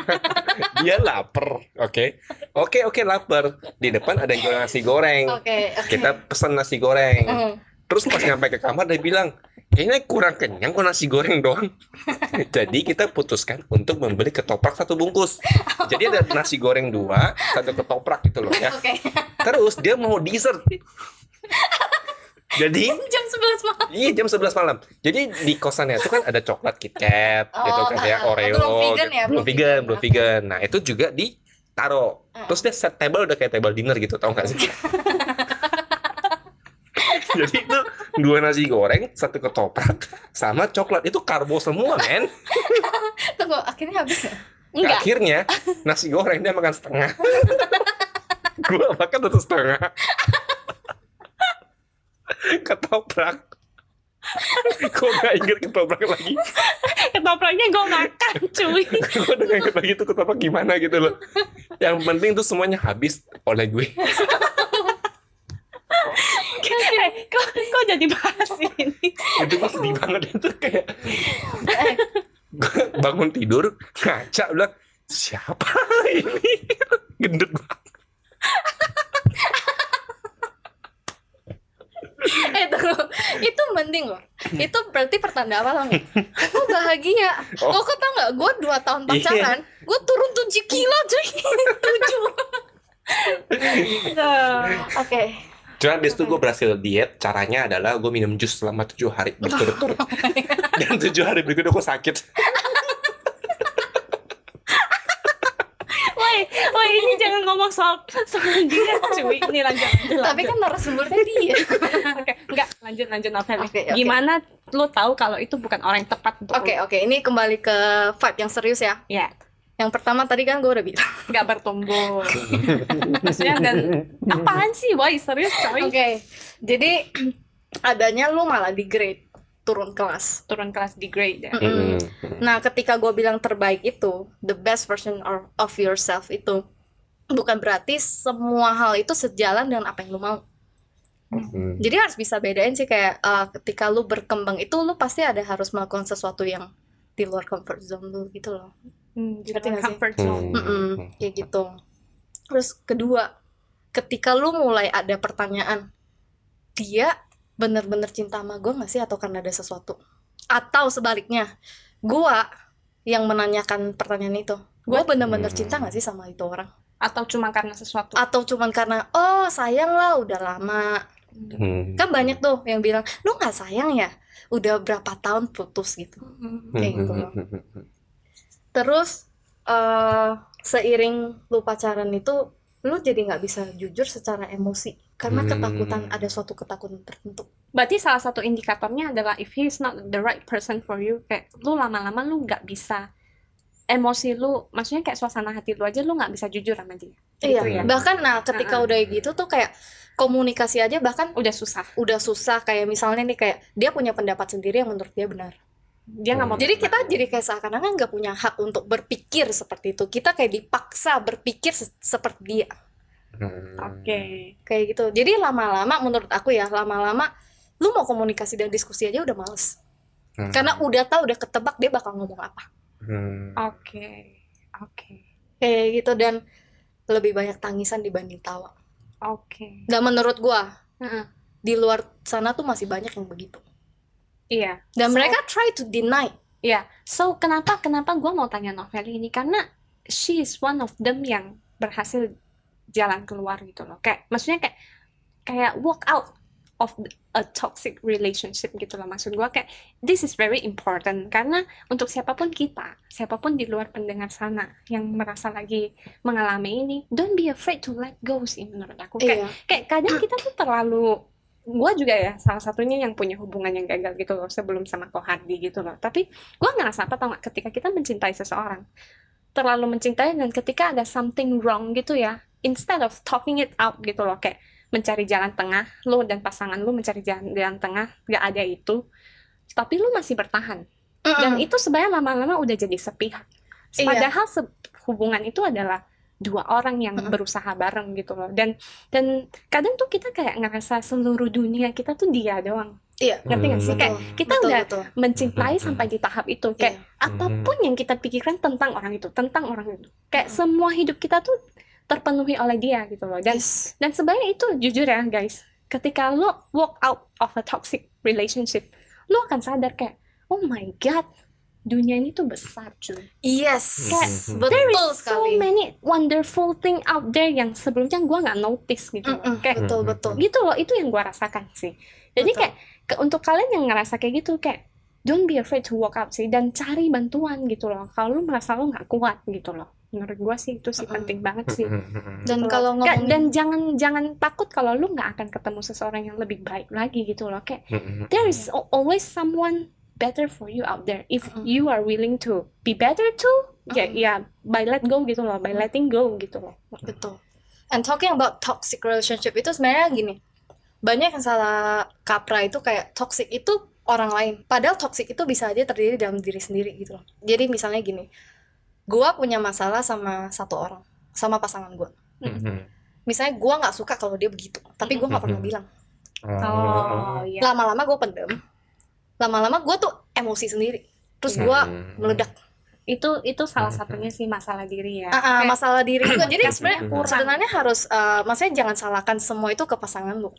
S3: Dia lapar, oke. Oke, oke lapar. Di depan ada yang jual nasi goreng.
S2: Oke, oke.
S3: Kita pesan nasi goreng.
S2: Mm.
S3: Terus pas nyampe ke kamar dia bilang, "Kayaknya kurang kenyang kok nasi goreng doang." Jadi kita putuskan untuk membeli ketoprak satu bungkus. Jadi ada nasi goreng dua, satu ketoprak gitu loh ya.
S2: Oke.
S3: Terus dia mau dessert. Jadi
S2: Jam 11 malam.
S3: iya jam 11 malam. Jadi di kosannya itu kan ada coklat KitKat
S2: Oh,
S3: gitu kan ya
S2: ah, ah.
S3: Oreo.
S2: Belum vegan
S3: gitu.
S2: ya,
S3: belum
S2: belum
S3: vegan,
S2: vegan.
S3: belum
S2: Oke.
S3: vegan. Nah, itu juga ditaro.
S2: Ah.
S3: Terus dia set table udah kayak table dinner gitu, tau gak sih? Jadi itu dua nasi goreng, satu ketoprak, sama coklat itu karbo semua, men.
S2: Tunggu, akhirnya habis ya?
S1: Enggak.
S3: Akhirnya nasi goreng dia makan setengah. Gua makan satu setengah. ketoprak. Gua gak inget ketoprak lagi.
S1: Ketopraknya gue makan, cuy.
S3: Gua udah gak inget lagi tuh ketoprak gimana gitu loh. Yang penting tuh semuanya habis oleh gue.
S1: Eh, kok, kok jadi bahas ini?
S3: Itu gue sedih banget itu kayak
S2: Eh,
S3: gua bangun tidur ngaca bilang siapa ini gendut banget.
S2: Eh, tunggu. itu penting loh.
S3: Hmm.
S2: Itu berarti pertanda apa tau nggak? Aku bahagia.
S3: Oh. Iya.
S2: Lo kok tau nggak? Gue 2 tahun pacaran, gue turun 7 kilo cuy. 7. Iya.
S1: Aduh.
S2: Oke.
S3: Cuma abis itu gue
S1: ya?
S3: berhasil diet, caranya adalah gue minum jus selama tujuh hari berturut-turut.
S1: ya?
S3: Dan tujuh hari berikutnya gue sakit.
S1: Woi, woi ini jangan ngomong soal soal dia, cuy. Ini lanjut, lanjut,
S2: Tapi
S1: lanjut.
S2: kan narasumbernya dia.
S1: Oke, enggak, lanjut, lanjut Novelli.
S2: Oke, oke.
S1: Gimana lo tahu kalau itu bukan orang yang tepat untuk
S2: Oke, oke. Ini kembali ke vibe yang serius ya.
S1: Ya,
S2: Yang pertama tadi kan gue udah bilang.
S1: nggak bertumbuh. Maksudnya dan apaan sih, woi serius,
S2: Oke.
S1: coy.
S2: Jadi adanya lu malah degrade, turun kelas.
S1: Turun kelas di grade ya.
S2: Mm-mm. Nah, ketika gue bilang terbaik itu, the best version or- of yourself itu bukan berarti semua hal itu sejalan dengan apa yang lu mau. Jadi harus bisa bedain sih kayak eh, ketika lu berkembang itu lu pasti ada harus melakukan sesuatu yang di luar comfort zone lu gitu loh.
S1: Hmm, di
S2: Ngerti
S1: luar
S2: nggak sih?
S1: comfort zone.
S2: Hmm. Mm-mm, kayak gitu. Terus kedua, ketika lu mulai ada pertanyaan, dia bener-bener cinta sama gue gak sih atau karena ada sesuatu? Atau sebaliknya, gua yang menanyakan pertanyaan itu. Gue bener-bener
S3: Hmm.
S2: cinta gak sih sama itu orang?
S1: Atau cuma karena sesuatu.
S2: Atau cuman karena, oh sayang lah udah lama.
S1: Hmm.
S2: Kan banyak tuh yang bilang, lu gak sayang ya? Udah berapa tahun putus gitu.
S1: Hmm.
S2: kayak gitu loh. Terus eh seiring lu pacaran itu lu jadi nggak bisa jujur secara emosi karena
S3: Hmm.
S2: ketakutan ada suatu ketakutan tertentu
S1: Berarti salah satu indikatornya adalah if he's not the right person for you, kayak lu lama-lama lu nggak bisa emosi lu, maksudnya kayak suasana hati lu aja lu nggak bisa jujur sama dia. Gitu ya.
S2: Iya, bahkan nah ketika
S1: Heeh.
S2: udah gitu tuh kayak komunikasi aja bahkan
S1: Udah susah.
S2: udah susah kayak misalnya nih kayak dia punya pendapat sendiri yang menurut dia benar.
S1: Dia nggak mau.
S2: Jadi kita jadi kayak seakan-akan nggak punya hak untuk berpikir seperti itu. Kita kayak dipaksa berpikir se- seperti dia
S3: Hmm.
S1: Oke.
S2: kayak gitu. Jadi lama-lama menurut aku ya lama-lama lu mau komunikasi dan diskusi aja udah males
S3: Hmm.
S2: karena udah tahu udah ketebak dia bakal ngomong apa
S3: Hmm.
S1: Oke. Oke.
S2: kayak gitu dan lebih banyak tangisan dibanding tawa.
S1: Oke.
S2: Dan menurut gua
S1: Heeh.
S2: di luar sana tuh masih banyak yang begitu.
S1: Iya.
S2: Dan
S1: So-
S2: mereka try to deny
S1: Iya, so kenapa kenapa gue mau tanya novel ini karena she is one of them yang berhasil jalan keluar gitu loh. Kayak maksudnya kayak kayak walk out of the- a toxic relationship gitu loh maksud gue kayak this is very important karena untuk siapapun kita siapapun di luar pendengar sana yang merasa lagi mengalami ini don't be afraid to let go sih menurut aku kayak
S2: Iya.
S1: kayak kadang kita tuh terlalu gue juga ya salah satunya yang punya hubungan yang gagal gitu loh sebelum sama Kohadi gitu loh tapi gue ngerasa apa tau gak ketika kita mencintai seseorang terlalu mencintai dan ketika ada something wrong gitu ya instead of talking it out gitu loh kayak mencari jalan tengah lo dan pasangan lo mencari jalan, jalan tengah gak ada itu tapi lu masih bertahan dan
S2: Mm-mm.
S1: itu sebenarnya lama-lama udah jadi sepihak
S2: Iya.
S1: padahal se- hubungan itu adalah dua orang yang
S2: Mm-mm.
S1: berusaha bareng gitu loh dan dan kadang tuh kita kayak ngerasa seluruh dunia kita tuh dia doang
S2: Iya.
S1: ngerti nggak sih
S3: Hmm.
S1: kayak gitu kita
S2: Betul,
S1: udah
S2: betul.
S1: mencintai
S3: Mm-mm.
S1: sampai di tahap itu kayak
S2: Iya.
S1: apapun yang kita pikirkan tentang orang itu tentang orang itu kayak
S2: Mm-mm.
S1: semua hidup kita tuh terpenuhi oleh dia gitu loh dan
S2: Yes.
S1: dan sebenarnya itu jujur ya guys, ketika lo walk out of a toxic relationship, lo akan sadar kayak, oh my god, dunia ini tuh besar cuy.
S2: Yes.
S1: Kayak,
S2: Betul
S1: There is so
S2: sekali.
S1: many wonderful thing out there yang sebelumnya gua nggak notice gitu. loh.
S2: Mm-mm.
S1: Kayak
S2: Betul, betul.
S1: gitu loh, itu yang gua rasakan sih. Jadi
S2: Betul.
S1: kayak ke- untuk kalian yang ngerasa kayak gitu kayak don't be afraid to walk out sih dan cari bantuan gitu loh. Kalau lo merasa lo nggak kuat gitu loh. Menurut gua sih itu sih
S2: Mm-mm.
S1: penting banget sih. Betul.
S2: Dan kalau
S1: Nggak,
S2: ngomongin
S1: dan jangan jangan takut kalau lu nggak akan ketemu seseorang yang lebih baik lagi gitu loh kayak
S3: Hmm.
S1: there is al- always someone better for you out there if
S2: Mm-mm.
S1: you are willing to be better too ya
S2: Mm-mm.
S1: ya by let go gitu loh
S2: Hmm.
S1: by letting go gitu loh
S2: betul. And talking about toxic relationship itu sebenarnya gini. Banyak yang salah kaprah itu kayak toxic itu orang lain. Padahal toxic itu bisa aja terdiri dalam diri sendiri gitu loh. Jadi misalnya gini. Gua punya masalah sama satu orang, sama pasangan gua.
S3: Hmm.
S2: Misalnya gua nggak suka kalau dia begitu, tapi gua nggak pernah
S3: Mm-mm.
S2: bilang.
S1: oh iya
S2: Lama-lama gua pendem. Lama-lama gua tuh emosi sendiri. Terus gua
S3: Hmm.
S2: meledak
S1: itu itu salah
S3: Mm-mm.
S1: satunya sih masalah diri ya
S2: Hmm. Ah, ah,
S1: Kayak
S2: masalah diri juga. Jadi
S1: komunikasinya
S2: sebenarnya
S1: kurang.
S2: sebenarnya harus eh, maksudnya jangan salahkan semua itu ke pasangan lu.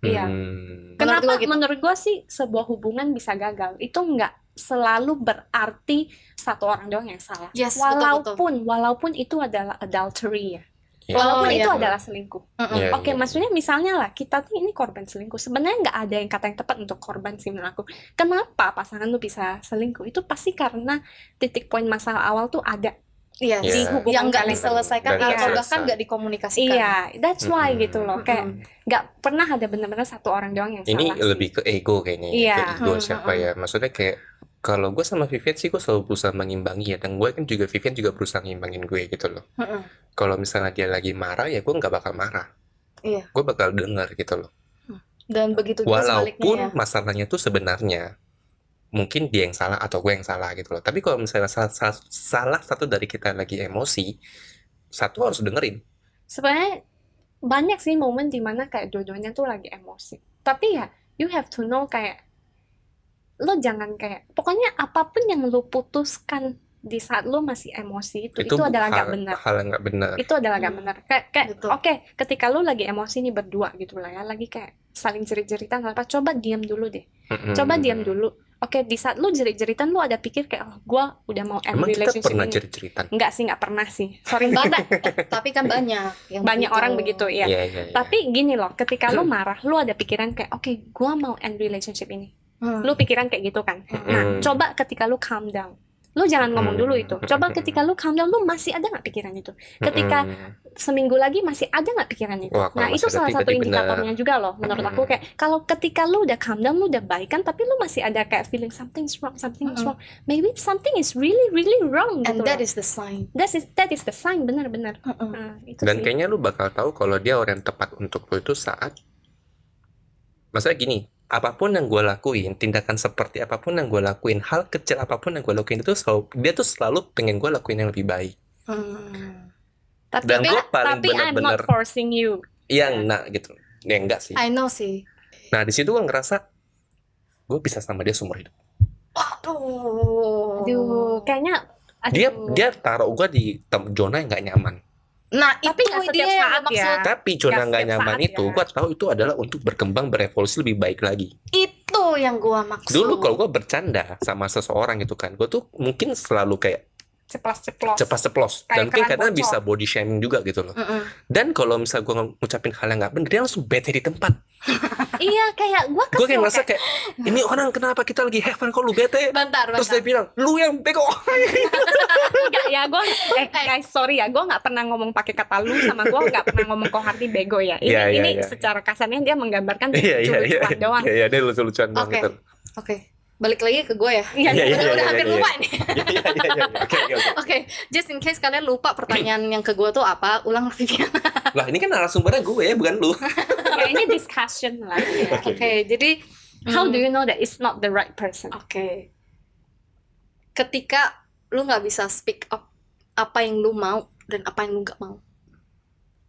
S1: Iya.
S3: Hmm.
S2: Menurut
S1: Kenapa
S2: gua gitu.
S1: menurut gua sih sebuah hubungan bisa gagal itu nggak selalu berarti satu orang doang yang salah.
S2: Yes, betul,
S1: walaupun walaupun itu adalah adultery ya.
S3: Iya.
S1: Walaupun
S2: Oh,
S1: itu
S2: iya.
S1: adalah selingkuh.
S2: Mm-mm.
S3: Iya,
S1: Oke,
S3: iya.
S1: maksudnya misalnya lah kita tuh ini korban selingkuh. Sebenarnya nggak ada yang kata yang tepat untuk korban sih menurut aku. Kenapa pasangan lu bisa selingkuh? Itu pasti karena titik poin masalah awal tuh ada
S2: Yes.
S1: di
S3: Iya.
S1: hubungan
S2: Yang nggak
S1: kalian.
S2: diselesaikan
S1: Dan
S2: atau
S1: nggak
S2: bahkan
S3: selesai.
S2: nggak dikomunikasikan.
S1: Iya, that's why
S3: Mm-mm.
S1: gitu loh. Kayak
S2: Mm-mm.
S1: nggak pernah ada benar-benar satu orang doang yang
S3: Ini
S1: salah. sih.
S3: lebih ke ego kayaknya, ya,
S1: Iya.
S3: ke ego
S2: Hmm,
S3: siapa
S2: hmm.
S3: ya. Maksudnya kayak kalau gue sama Vivian sih gue selalu berusaha mengimbangi ya. Dan gue kan juga Vivian juga berusaha ngimbangin gue gitu loh.
S2: Mm-mm.
S3: Kalau misalnya dia lagi marah ya gue nggak bakal marah.
S2: Iya.
S3: Gue bakal dengar gitu loh.
S2: Dan begitu juga sebaliknya ya.
S3: Walaupun masalahnya tuh sebenarnya mungkin dia yang salah atau gue yang salah gitu loh. Tapi kalau misalnya salah, salah- salah satu dari kita lagi emosi, satu harus dengerin.
S1: sebenarnya banyak sih momen dimana kayak dua-duanya tuh lagi emosi. Tapi ya, you have to know kayak lo jangan kayak pokoknya apapun yang lo putuskan di saat lo masih emosi itu itu, adalah
S3: hal,
S1: gak benar.
S3: hal yang nggak benar.
S1: Itu adalah gak
S2: Hmm.
S1: benar. Kayak kayak
S2: Betul.
S1: oke, ketika lo lagi emosi nih berdua gitu lah ya, lagi kayak saling jerit-jeritan apa coba diam dulu deh. Coba
S3: Mm-mm.
S1: diam dulu. Oke, di saat lo jerit-jeritan lo ada pikir kayak oh, gua udah mau end
S3: Emang kita
S1: relationship
S3: pernah
S1: ini.
S3: cerit-ceritan?
S1: Enggak sih, enggak pernah sih. Sorry banget.
S2: Tapi kan banyak yang
S1: Banyak orang begitu ya.
S3: Iya, iya, Hmm. iya.
S1: Tapi gini loh, ketika lu marah, lu ada pikiran kayak, oke, gua mau end relationship ini.
S2: Hmm.
S1: Lu pikiran kayak gitu kan. Nah,
S3: Mm.
S1: coba ketika lu calm down. Lu jangan ngomong dulu
S3: Hmm.
S1: itu. Coba ketika lu countdown lu masih ada nggak pikiran itu? Ketika
S3: Mm-mm.
S1: seminggu lagi masih ada nggak pikiran itu?
S3: Wah, kalau
S1: Nah, itu
S3: masih ada
S1: salah satu
S3: tiba-tiba benar.
S1: indikatornya juga loh menurut aku
S3: Mm-mm.
S1: kayak kalau ketika lu udah calm down, lu udah baikan tapi lu masih ada kayak feeling something's wrong, something's
S2: Mm-mm.
S1: wrong. Maybe something is really really wrong gitu.
S2: and that
S1: loh.
S2: is the sign
S1: That is that is the sign benar-benar.
S2: Mm-mm.
S1: Nah, itu
S3: Dan
S1: sih.
S3: kayaknya lu bakal tahu kalau dia orang yang tepat untuk lu itu saat Maksudnya gini, apapun yang gue lakuin, tindakan seperti apapun yang gue lakuin, hal kecil apapun yang gue lakuin itu selalu, dia tuh selalu pengen gue lakuin yang lebih baik.
S2: Hmm. tapi
S3: Dan
S2: tapi
S3: gue paling
S1: tapi I'm not
S3: bener-bener
S1: forcing you.
S3: iya enggak gitu. Ya enggak sih.
S2: I know sih
S3: Nah, di situ gue ngerasa gue bisa sama dia seumur hidup.
S2: aduh
S1: Aduh, kayaknya aduh.
S3: Dia dia taruh gue di tem- zona yang nggak nyaman.
S2: nah
S1: Tapi
S2: itu
S1: nggak
S2: dia
S1: setiap
S2: yang
S1: saat
S2: gue
S1: ya.
S2: maksud
S3: Tapi zona
S1: Ya,
S3: nggak
S1: setiap
S3: nyaman
S1: saat
S3: itu,
S1: ya.
S3: gue tahu itu adalah untuk berkembang berevolusi lebih baik lagi.
S2: itu yang gue maksud
S3: Dulu kalau gue bercanda sama seseorang gitu kan, gue tuh mungkin selalu kayak
S1: ceplos-ceplos.
S3: cepat ceplos
S1: Kayak
S3: dan mungkin
S1: keran
S3: karena
S1: bocor.
S3: bisa body shaming juga gitu loh.
S2: Mm-mm.
S3: Dan kalau misalnya gue ngucapin hal yang nggak bener, dia langsung bete di tempat.
S1: Iya, kayak gua kesel.
S3: Gue kayak ngerasa kayak ini orang kenapa kita lagi have fun kok lu bete?
S2: bentar
S3: Terus
S2: bentar
S3: dia bilang lu yang bego.
S1: Enggak ya, gue eh guys sorry ya, gue nggak pernah ngomong pakai kata lu sama gue nggak pernah ngomong kohati bego ya. Ini
S3: Iya, iya,
S1: ini
S3: iya.
S1: secara kasarnya dia menggambarkan
S3: Iya iya iya.
S1: lucu-lucuan doang.
S3: Iya iya dia lucu-lucuan doang
S2: Oke.
S3: gitu.
S2: oke balik lagi ke gue ya
S1: Iya,
S3: Iya, iya,
S2: udah,
S3: iya,
S2: udah
S3: iya,
S2: hampir
S3: iya.
S2: lupa ini
S3: Iya iya iya. iya. Oke oke. oke.
S2: oke just in case kalian lupa pertanyaan yang ke gue tuh apa ulang lagi Vivian.
S3: Lah ini kan narasumbernya gue ya, bukan lu.
S1: Ya ini discussion lah.
S2: oke jadi
S1: How do you know that it's not the right person?
S2: Oke. Ketika lu nggak bisa speak up apa yang lu mau dan apa yang lu nggak mau.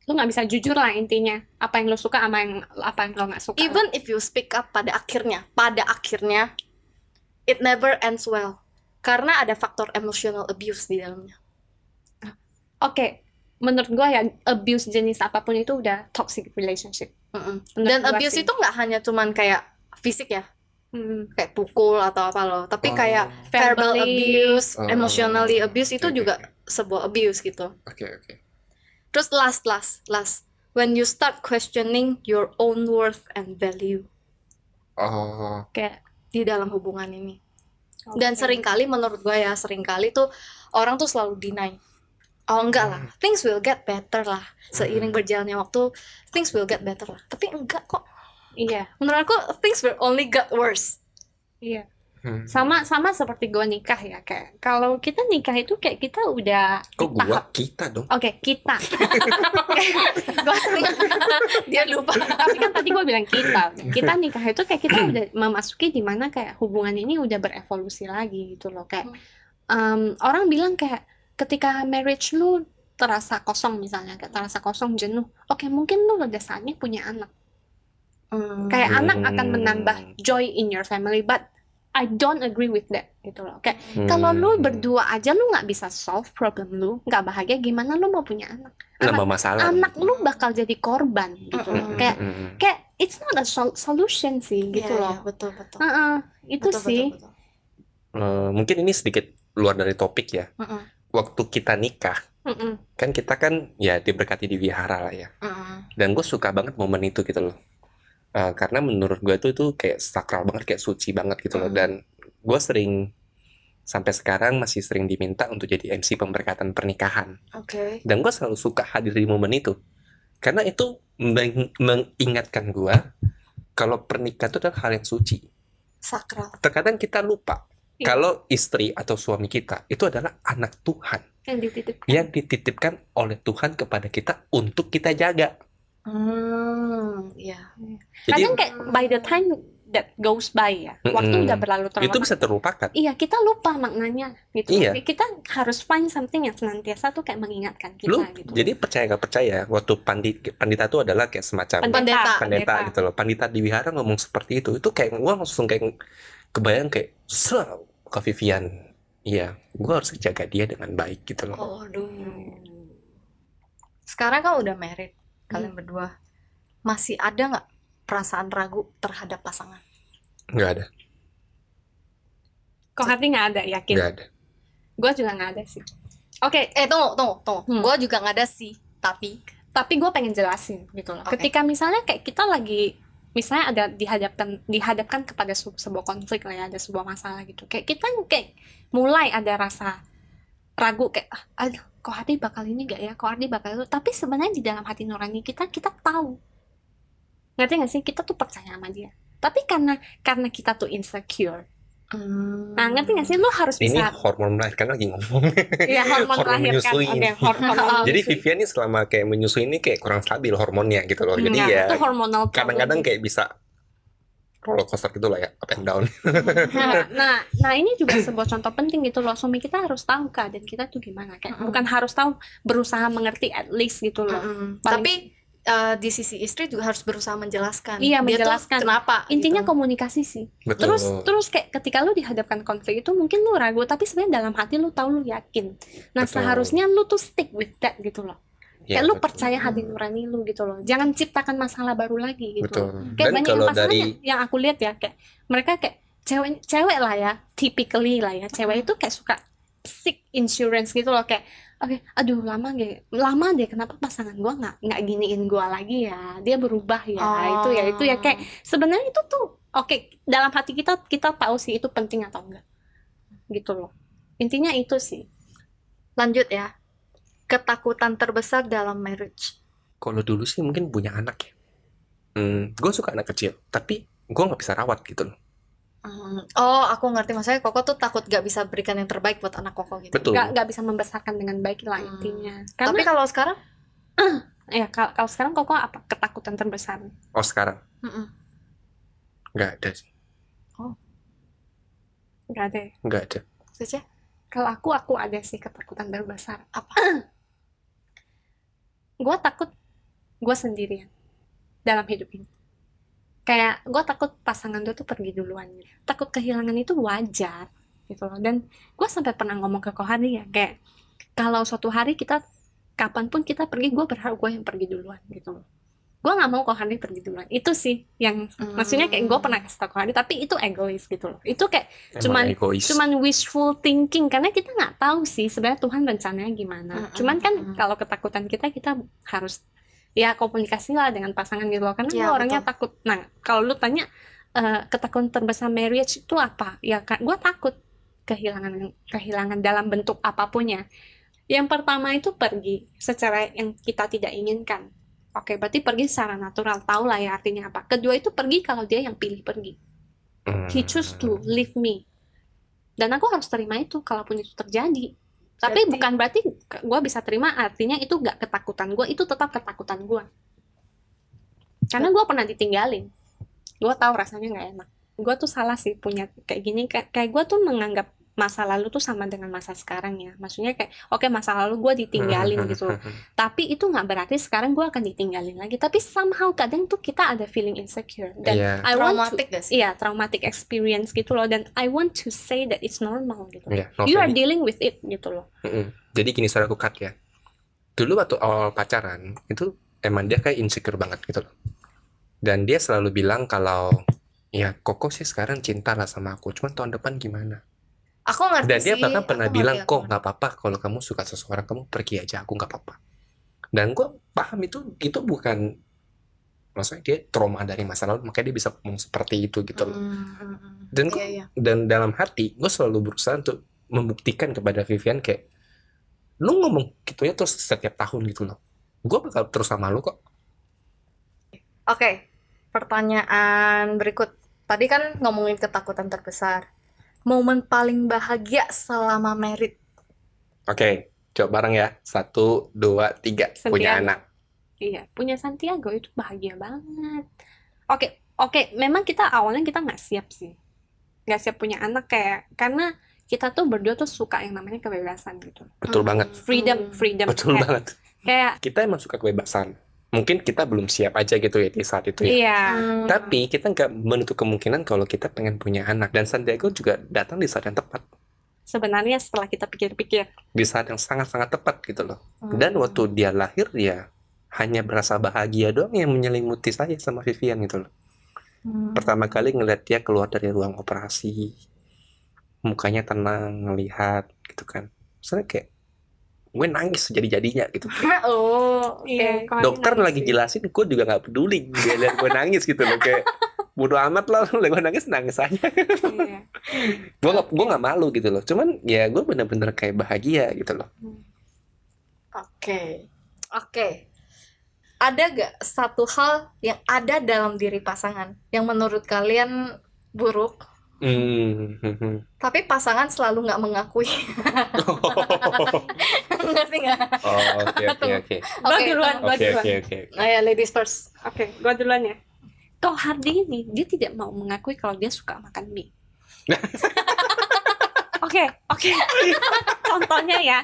S1: Lu nggak bisa jujur lah intinya. Apa yang lu suka sama yang apa yang lu nggak suka.
S2: Even if you speak up pada akhirnya, pada akhirnya it never ends well. Karena ada faktor emotional abuse di dalamnya.
S1: Oke, menurut gue ya abuse jenis apapun itu udah toxic relationship.
S2: Mm-mm.
S1: Menurut
S2: Dan
S1: gua
S2: abuse
S1: sih.
S2: itu nggak hanya cuman kayak fisik ya,
S1: Hmm.
S2: kayak pukul atau apa loh, tapi
S3: Oh.
S2: kayak
S1: Verbally.
S2: verbal abuse,
S3: Oh.
S2: emotionally abuse itu
S3: Oke, oke,
S2: juga sebuah abuse gitu.
S3: Oke oke.
S2: Terus last last last when you start questioning your own worth and value
S3: Oh.
S1: Kayak
S2: di dalam hubungan ini. Dan seringkali menurut gue ya seringkali tuh orang tuh selalu deny. Oh enggak lah, things will get better lah. Seiring berjalannya waktu, things will get better lah. Tapi enggak kok.
S1: Iya,
S2: Menurut aku things will only get worse.
S1: iya.
S3: hmm.
S1: Sama sama seperti gue nikah ya kayak. Kalau kita nikah itu kayak kita udah
S3: Kok
S1: di tahap
S3: gua kita dong?
S1: Oke, kita. Gua sering-
S2: Dia lupa.
S1: tapi kan tadi gue bilang kita. Kita nikah itu kayak kita udah memasuki di mana kayak hubungan ini udah berevolusi lagi gitu loh. Kayak em, orang bilang kayak ketika marriage lu terasa kosong misalnya, kayak terasa kosong jenuh. Oke, mungkin lu udah saatnya punya anak.
S2: Hmm.
S1: Kayak anak akan
S3: Hmm.
S1: menambah joy in your family, but I don't agree with that gitu loh. Kayak
S2: Hmm.
S1: kalau lu
S3: Hmm.
S1: berdua aja lu nggak bisa solve problem lu, nggak bahagia gimana lu mau punya anak?
S3: nambah masalah. Hmm,
S1: anak lu bakal jadi korban gitu loh.
S2: Mm-mm.
S1: kayak
S3: Mm-mm.
S1: kayak it's not a sol- solution sih gitu
S2: Iya,
S1: loh
S2: iya, betul betul.
S1: Heeh, itu
S2: Betul,
S1: sih
S2: betul, betul.
S3: Eh, mungkin ini sedikit luar dari topik ya.
S2: Mm-mm.
S3: Waktu kita nikah,
S1: Mm-mm.
S3: kan kita kan ya diberkati di wihara lah ya.
S2: Mm-mm.
S3: Dan gue suka banget momen itu gitu loh. Eh, karena menurut gue itu itu kayak sakral banget, kayak suci banget gitu loh.
S2: Hmm.
S3: Dan gue sering sampai sekarang masih sering diminta untuk jadi MC pemberkatan pernikahan.
S2: Oke.
S3: Dan gue selalu suka hadir di momen itu. Karena itu meng- mengingatkan gue kalau pernikahan itu adalah hal yang suci.
S2: Sakral.
S3: terkadang kita lupa
S1: Iya.
S3: kalau istri atau suami kita itu adalah anak Tuhan
S1: yang dititipkan
S3: yang dititipkan oleh Tuhan kepada kita untuk kita jaga.
S2: Hmm, ya.
S1: kadang
S3: Jadi
S1: kayak by the time that goes by ya waktu
S3: Mm-mm.
S1: udah berlalu terlalu
S3: itu
S1: lama.
S3: bisa terlupakan.
S1: iya kita lupa maknanya gitu
S3: Iya.
S1: kita harus find something yang senantiasa tuh kayak mengingatkan kita
S3: Lu
S1: gitu
S3: jadi percaya nggak percaya waktu pandit pandita itu adalah kayak semacam
S2: Pendeta.
S3: pendeta gitu loh. Pandita di wihara ngomong seperti itu. Itu kayak gua langsung kayak kebayang kayak "Sel, Kak Vivian. Iya, gua harus jaga dia dengan baik gitu loh.
S1: Oh,
S2: Aduh. Sekarang kan udah married
S1: Hmm.
S2: kalian berdua. Masih ada nggak perasaan ragu terhadap pasangan?
S3: Nggak ada,
S1: kok hati nggak ada yakin
S3: nggak ada.
S1: gue juga nggak ada sih oke
S2: Eh tunggu, tunggu, tunggu.
S1: Hmm.
S2: Gue juga nggak ada sih, tapi
S1: tapi gue pengen jelasin gitu loh
S2: Oke.
S1: ketika misalnya kayak kita lagi misalnya ada dihadapkan dihadapkan kepada se- sebuah konflik lah ya ada sebuah masalah gitu kayak kita kayak mulai ada rasa ragu kayak "Ah, aduh kok Ardi bakal ini gak ya kok Ardi bakal itu tapi sebenarnya di dalam hati nurani kita kita tahu ngerti gak sih kita tuh percaya sama dia tapi karena karena kita tuh insecure nah
S2: Hmm.
S1: ngerti gak sih lu harus
S3: Ini
S1: bisa
S3: hormon melahirkan lagi ngomong.
S1: ya hormon
S3: hormon
S1: melahirkan
S3: menyusui.
S1: oke hormon
S3: Jadi Vivian ini selama kayak menyusui ini kayak kurang stabil hormonnya gitu loh. Jadi
S1: Nah,
S3: ya
S1: itu hormonal problem.
S3: kadang-kadang kayak bisa roller coaster gitu lah ya, up and down.
S1: Nah, nah, nah ini juga sebuah contoh penting gitu loh. Suami kita harus tahu keadaan kita tuh gimana kan.
S2: Mm-mm.
S1: Bukan harus tahu, berusaha mengerti at least gitu loh. Paling-
S2: Mm-mm. Tapi eh, di sisi istri juga harus berusaha menjelaskan.
S1: Iya,
S2: Dia tuh
S1: menjelaskan.
S2: kenapa?
S1: Intinya
S2: gitu.
S1: komunikasi sih.
S3: Betul.
S1: Terus terus kayak ketika lu dihadapkan konflik itu mungkin lu ragu, tapi sebenarnya dalam hati lu tahu lu yakin. Nah,
S3: Betul.
S1: seharusnya lu tuh stick with that gitu loh. kayak
S3: Ya,
S1: lu
S3: betul.
S1: percaya hati nurani lu gitu loh. Jangan ciptakan masalah baru lagi gitu.
S3: Betul.
S1: kayak
S3: Dan
S1: banyak
S3: kalau
S1: pasangan
S3: dari
S1: yang- yang aku lihat ya kayak mereka kayak cewek cewek lah ya typically lah ya cewek itu kayak suka sick insurance gitu loh kayak oke aduh lama gak lama deh kenapa pasangan gua nggak nggak giniin gua lagi ya dia berubah ya
S2: Oh.
S1: itu ya itu ya kayak sebenarnya itu tuh oke dalam hati kita kita tahu sih itu penting atau enggak gitu loh intinya itu sih
S2: lanjut ya. Ketakutan terbesar dalam marriage.
S3: kalau dulu sih mungkin punya anak ya. Hmm, gue suka anak kecil, tapi gue nggak bisa rawat gitu loh.
S2: Mm, Oh, aku ngerti maksudnya Koko tuh takut gak bisa berikan yang terbaik buat anak Koko gitu.
S3: Betul.
S1: nggak nggak bisa membesarkan dengan baik lah
S2: Hmm.
S1: intinya
S2: Tapi
S1: karena
S2: kalau sekarang
S1: ya kalau kalau sekarang kok apa ketakutan terbesar
S3: Oh sekarang
S2: Mm-mm.
S3: nggak ada sih,
S1: nggak ada ya?
S3: nggak ada.
S2: Caca,
S1: Kalau aku, aku ada sih ketakutan terbesar.
S2: Apa?
S1: gue takut gue sendirian dalam hidup ini. Kayak gue takut pasangan gue tuh pergi duluan. gitu. Takut kehilangan itu wajar gitu loh. Dan gue sampai pernah ngomong ke Kohari ya kayak kalau suatu hari kita kapanpun kita pergi, gue berharap gue yang pergi duluan gitu loh. Gue nggak mau Kohari pergi duluan. Itu sih yang maksudnya kayak gue
S2: Hmm.
S1: pernah kasih tau Kohari, tapi itu egois gitu loh. Itu kayak
S3: Emang
S1: Cuman-
S3: egois.
S1: cuman wishful thinking karena kita nggak tahu sih sebenarnya Tuhan rencananya gimana.
S2: Mm-mm,
S1: Cuman kan
S2: mm-mm.
S1: kalau ketakutan kita kita harus ya komunikasi lah dengan pasangan gitu loh karena
S2: Iya,
S1: lu orangnya takut. Nah kalau lu tanya eh, ketakutan terbesar marriage itu apa? Ya kan gue takut kehilangan kehilangan dalam bentuk apapun ya. Yang pertama itu pergi secara yang kita tidak inginkan. Oke, berarti pergi secara natural. Tahu lah ya artinya apa. Kedua itu pergi kalau dia yang pilih pergi
S3: Hmm.
S1: he choose to leave me dan aku harus terima itu kalaupun itu terjadi tapi
S2: Berarti-
S1: bukan berarti gue bisa terima artinya itu nggak ketakutan gue itu tetap ketakutan gue karena gue pernah ditinggalin gue tahu rasanya nggak enak gue tuh salah sih punya kayak gini kayak, kayak gue tuh menganggap masa lalu tuh sama dengan masa sekarang ya maksudnya kayak oke masa lalu gue ditinggalin gitu
S3: Hmm,
S1: tapi itu nggak berarti sekarang gue akan ditinggalin lagi tapi somehow kadang tuh kita ada feeling insecure dan
S3: Iya,
S1: I want to
S2: traumatik gak sih?
S1: Iya, traumatic experience gitu loh dan I want to say that it's normal gitu.
S3: iya. No,
S1: You are
S3: jadi-
S1: dealing with it gitu loh.
S3: Mm-mm. Jadi gini saudara aku cut ya. Dulu waktu awal pacaran itu emang dia kayak insecure banget gitu loh. Dan dia selalu bilang kalau ya Koko sih sekarang cinta lah sama aku, cuman tahun depan gimana?
S2: Aku ngerti
S3: Dan dia
S2: sih,
S3: bahkan
S2: aku
S3: pernah
S2: ngerti,
S3: bilang,
S2: aku
S3: kok
S2: ngerti."
S3: nggak apa-apa kalau kamu suka seseorang, kamu pergi aja, aku nggak apa-apa. Dan gue paham itu, itu bukan, maksudnya dia trauma dari masa lalu, makanya dia bisa ngomong seperti itu gitu loh.
S2: Mm, mm, mm.
S3: Dan
S2: Iya,
S3: kok-
S2: iya.
S3: Dan dalam hati, gue selalu berusaha untuk membuktikan kepada Vivian kayak, lu ngomong gitu ya terus setiap tahun gitu loh. Gue bakal terus sama lu kok.
S2: Oke, pertanyaan berikut. Tadi kan ngomongin ketakutan terbesar. Momen paling bahagia selama married.
S3: Oke, coba bareng ya. Satu, dua, tiga.
S1: Sendirian.
S3: Punya anak.
S1: Iya, punya Santiago itu bahagia banget. Oke, oke, memang kita awalnya kita nggak siap sih. Nggak siap punya anak kayak karena kita tuh berdua tuh suka yang namanya kebebasan gitu.
S3: Betul banget.
S1: Freedom, freedom.
S3: Betul
S1: Kayak-
S3: banget.
S1: Kayak
S3: Kita emang suka kebebasan. Mungkin kita belum siap aja gitu ya di saat itu ya.
S1: iya.
S2: Mm.
S3: Tapi kita nggak menutup kemungkinan kalau kita pengen punya anak. Dan Sandiago juga datang di saat yang tepat.
S1: Sebenarnya setelah kita pikir-pikir,
S3: Di saat yang sangat-sangat tepat gitu loh.
S2: Mm.
S3: Dan
S1: Hmm.
S3: waktu dia lahir ya hanya berasa bahagia doang yang menyelimuti saya sama Vivian gitu loh.
S2: Mm.
S3: Pertama
S1: Hmm.
S3: kali ngeliat dia keluar dari ruang operasi. Mukanya tenang, ngelihat gitu kan. Soalnya kayak gue nangis jadi-jadinya gitu
S2: oh, oke.
S1: Iya, kalau
S3: dokter
S1: nangis
S3: lagi
S1: sih.
S3: jelasin gue juga nggak peduli dia lihat gue nangis gitu loh kayak bodo amat lah lu liat gue nangis nangis aja
S1: Iya.
S3: gue gak gue nggak malu gitu loh cuman ya gue bener-bener kayak bahagia gitu loh
S2: Oke. Oke. Ada gak satu hal yang ada dalam diri pasangan yang menurut kalian buruk,
S3: Hmm.
S2: tapi pasangan selalu nggak mengakui? Ngerti nggak?
S3: Oh, oke oke oke
S1: Gua
S2: Oke,
S1: duluan, gua
S3: oke
S1: duluan.
S3: oke oke
S2: Nah ya ladies first.
S1: Oke, gua duluan ya. Kau Hardi ini dia tidak mau mengakui kalau dia suka makan mie. Oke, oke. Contohnya ya,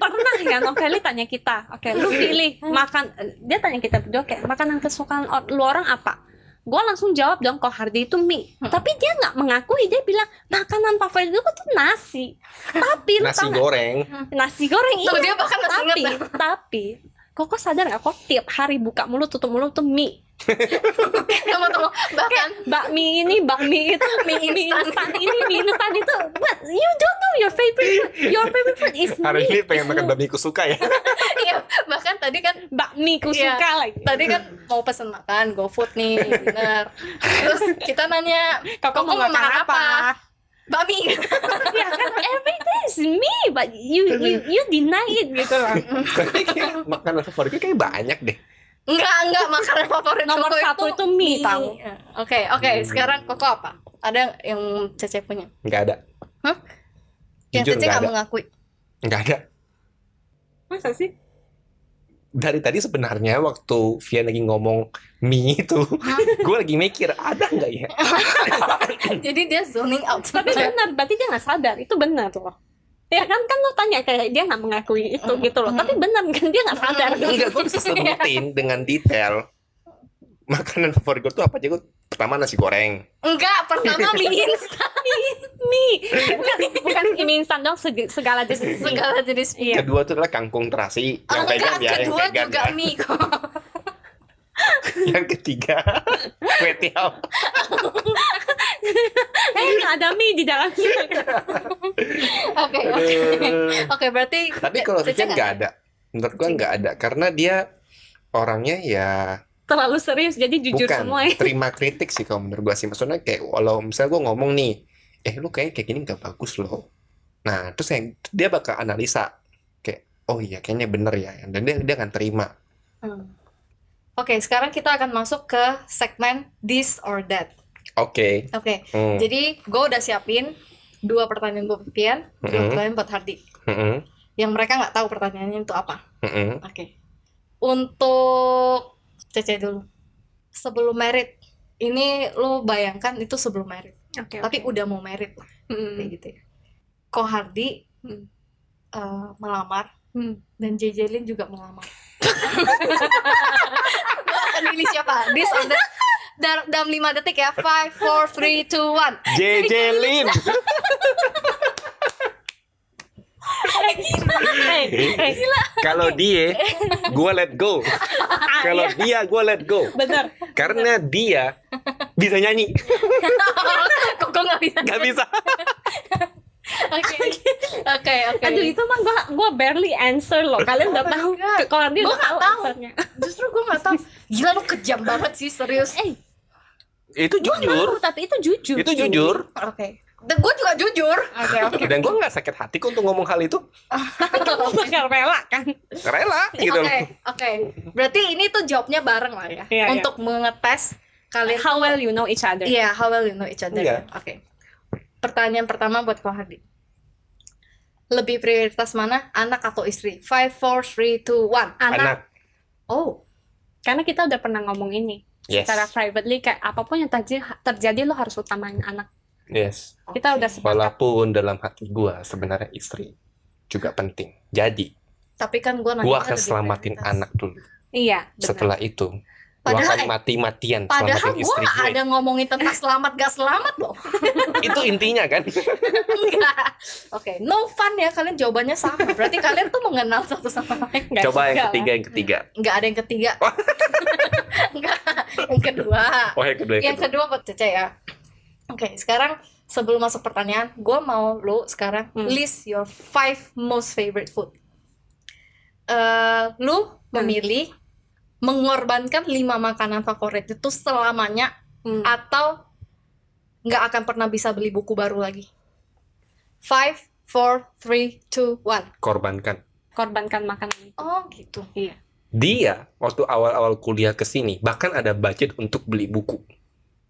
S1: pernah ya Noveli tanya kita, oke, lu pilih makan, eh, dia tanya kita berdua kayak makanan kesukaan or- lu orang apa? Gua langsung jawab dong, kok Hardi itu mie.
S2: Hmm.
S1: Tapi dia nggak mengakui, dia bilang makanan favorit gue tuh nasi. Tapi lu
S3: nasi
S1: tau nggak?
S3: goreng
S1: nasi goreng
S2: Tuh
S1: iya.
S2: dia bahkan masih
S1: tapi
S2: ingat.
S1: tapi koko sadar nggak kok tiap hari buka mulut tutup mulut tuh mie
S2: Teman-teman bahkan
S1: bakmi ini bakmi itu
S2: mie
S1: mie
S2: instan.
S1: instan ini mie instan itu but you don't know your favorite food. your favorite food is mie
S3: hari ini pengen
S1: is
S3: makan
S1: mie.
S3: babi kusuka ya
S2: Iya, bahkan tadi kan
S1: bakmi ku
S2: Iya.
S1: suka lagi
S2: tadi kan mau pesen makan GoFood nih dinner. Terus kita nanya
S1: koko mau makan apa
S2: Bami.
S1: ya kan everything is mie but you you you deny it gitu loh
S3: tapi kayak makanan favorit gue kayak banyak deh
S2: Enggak, enggak makanan favorit
S1: Nomor
S2: Koko
S1: satu itu mie, tahu.
S2: Oke, oke,
S3: Hmm.
S2: sekarang Koko apa? Ada yang Cece punya?
S3: nggak ada
S2: Hah? Yang Cece
S3: jujur nggak
S2: nggak
S3: ada
S2: mengakui.
S3: nggak ada
S1: masa sih
S3: dari tadi sebenarnya waktu Vian lagi ngomong mie itu gue lagi mikir ada nggak ya
S2: Jadi dia zoning out.
S1: tapi benar berarti dia nggak sadar itu benar loh ya kan kan lo tanya kayak dia nggak mengakui itu gitu loh tapi benar kan dia nggak sadar Iya.
S3: enggak gue bisa sebutin dengan detail makanan favorit gue tuh apa aja gue pertama nasi goreng
S2: Enggak, pertama mie instan
S1: mie bukan bukan mie instan dong seg- segala jenis mie.
S2: segala jenis mie.
S1: Iya.
S3: kedua tuh adalah kangkung terasi yang
S2: Enggak,
S3: vegan ya yang
S2: kedua
S3: vegan
S2: juga
S3: ya.
S2: mie kok.
S3: yang ketiga kue tiaw
S1: eh ada mie di dalamnya
S2: Oke, oke.
S3: Aduh.
S2: Oke, berarti
S3: tapi kalau
S2: Cece
S3: Vian nggak ada menurut gue nggak ada karena dia orangnya ya
S1: terlalu serius jadi jujur
S3: Bukan,
S1: semua ya
S3: terima kritik sih kalau menurut gua sih. Maksudnya kayak kalau misalnya gua ngomong nih, eh lu kayak kayak gini nggak bagus loh. Nah, terus yang dia bakal analisa kayak oh iya kayaknya bener ya. Dan dia dia akan terima.
S2: Oke, sekarang kita akan masuk ke segmen this or that.
S3: Oke.
S2: Oke,
S3: Hmm,
S2: jadi gue udah siapin dua pertanyaan buat Pian, dua
S3: Mm-mm.
S2: pertanyaan buat Hardi.
S3: mm-mm,
S2: Yang mereka nggak tahu pertanyaannya itu apa.
S3: mm-mm.
S2: Oke. Untuk Cece dulu. Sebelum merit, ini lo bayangkan itu sebelum merit,
S1: oke
S2: tapi udah mau merit lah, kayak gitu ya. Ko Hardi
S1: Hmm.
S2: eh, melamar dan JJ Lin juga melamar. Lo akan pilih siapa? This or that? Dar- dalam 5 detik ya. 5 4 3 2 1.
S3: JJ Lin. Kalau dia, gua let go.
S1: Ah,
S3: Kalau
S1: iya.
S3: dia, gua let go.
S1: benar
S3: Karena dia bisa nyanyi,
S2: Kok kok nggak bisa?
S3: nggak bisa.
S2: Oke. Oke, oke.
S1: aduh itu mah gua gua barely answer loh kalian udah
S2: Oh my
S1: tahu
S2: God.
S1: kalau dia udah tahu
S2: Gua nggak tahu.
S1: answernya
S2: Justru gue nggak tahu. Gila lu kejam banget sih, serius.
S1: eh
S3: Itu jujur,
S1: tahu, tapi itu jujur
S3: itu jujur.
S2: Oke. Dan gue juga jujur. Oke, oke.
S3: dan gue nggak sakit hati kok untuk ngomong hal itu
S1: Lu bakal rela kan
S3: rela
S2: Oke,
S3: gitu loh
S2: oke. Berarti ini tuh jawabnya bareng lah ya.
S1: Iya, iya.
S2: Untuk mengetes kalian
S1: how well you know each other
S2: Iya, how well you know each other.
S3: Iya.
S2: Oke. Pertanyaan pertama buat Ko Hardi. Lebih prioritas mana, anak atau istri? 5, 4, 3, 2, 1.
S1: anak
S3: anak
S2: Oh,
S1: karena kita udah pernah ngomong ini
S3: yes
S1: secara privately kayak apapun yang terjadi terjadi lo harus utamain anak
S3: yes
S1: kita
S2: oke.
S1: udah sepakat
S3: walaupun dalam hati gue sebenarnya istri juga penting jadi
S2: Tapi kan gue
S3: gue akan selamatin anak dulu
S1: iya benar.
S3: setelah itu gue
S2: Padahal- eh,
S3: akan mati-matian
S2: Padahal gue
S3: selamatin istri
S2: gak
S3: gue
S2: ada ngomongin tentang selamat gak selamat loh.
S3: itu intinya kan
S2: Enggak. Oke, no fun ya kalian jawabannya sama. Berarti kalian tuh mengenal satu sama lain.
S1: Nggak
S3: coba yang
S1: juga
S3: ketiga yang ketiga
S2: Enggak ada yang ketiga. Enggak. Yang kedua.
S3: oh yang kedua yang
S2: Yang
S3: kedua
S2: kedua buat Cece ya. Oke, sekarang sebelum masuk pertanyaan, gue mau lu sekarang
S1: Hmm.
S2: list your five most favorite food. eh,
S1: Hmm.
S2: lu memilih mengorbankan lima makanan favorit itu selamanya
S1: Hmm.
S2: atau nggak akan pernah bisa beli buku baru lagi. Five, four, three, two, one.
S3: korbankan.
S1: korbankan makanan
S2: Oh
S1: Hmm,
S2: gitu.
S3: Dia waktu awal-awal kuliah ke sini bahkan ada budget untuk beli buku.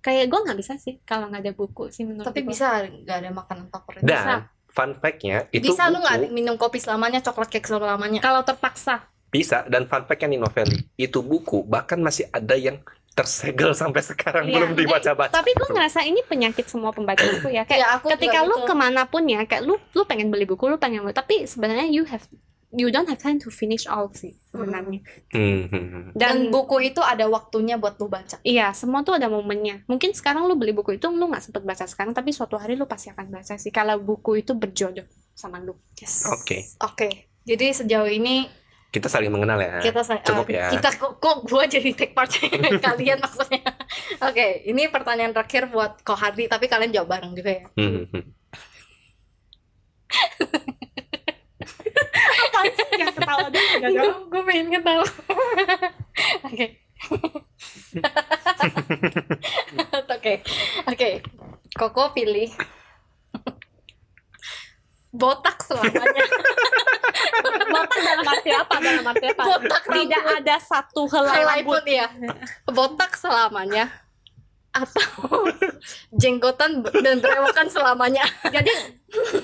S1: kayak gue nggak bisa sih kalau nggak ada buku sih menurut
S2: Tapi
S1: gua.
S2: bisa nggak ada makanan favorit?
S3: Dan fun fact-nya itu
S2: bisa lu nggak
S3: buku
S2: minum kopi selamanya, coklat cake selamanya?
S1: kalau terpaksa
S3: bisa dan fun fact-nya Nino Valley itu buku bahkan masih ada yang tersegel sampai sekarang
S1: Iya,
S3: belum dibaca-baca.
S1: tapi gue ngerasa ini penyakit semua pembaca buku ya kayak
S2: Ya, aku juga
S1: ketika lu
S2: gitu.
S1: kemanapun ya kayak lu lu pengen beli buku lu pengen beli tapi sebenarnya you have you don't have time to finish all sih sebenarnya
S3: Hmm, hmm, hmm.
S1: dan
S2: dan buku itu ada waktunya buat lu baca.
S1: Iya, semua tuh ada momennya. Mungkin sekarang lu beli buku itu lu nggak sempet baca sekarang, tapi suatu hari lu pasti akan baca sih. Kalau buku itu berjodoh sama lu.
S2: Yes.
S3: Oke.
S2: Oke. Jadi sejauh ini
S3: Kita saling mengenal ya.
S2: kita sa-
S3: cukup
S2: eh,
S3: ya.
S2: kita kok kok gua jadi take part kalian maksudnya. Oke, ini pertanyaan terakhir buat Kohadi tapi kalian jawab bareng juga ya.
S3: Hmm, hmm, hmm.
S1: Yang ketawa dia
S2: Ya, gue pengen ketawa. Oke. Oke. Oke. Koko pilih botak selamanya.
S1: Botak dalam arti apa? Dalam arti apa?
S2: botak
S1: Tidak
S2: rambut.
S1: ada satu helai
S2: Helai
S1: rambut.
S2: pun ya. Botak selamanya atau jenggotan be- dan berewokan selamanya.
S1: Jadi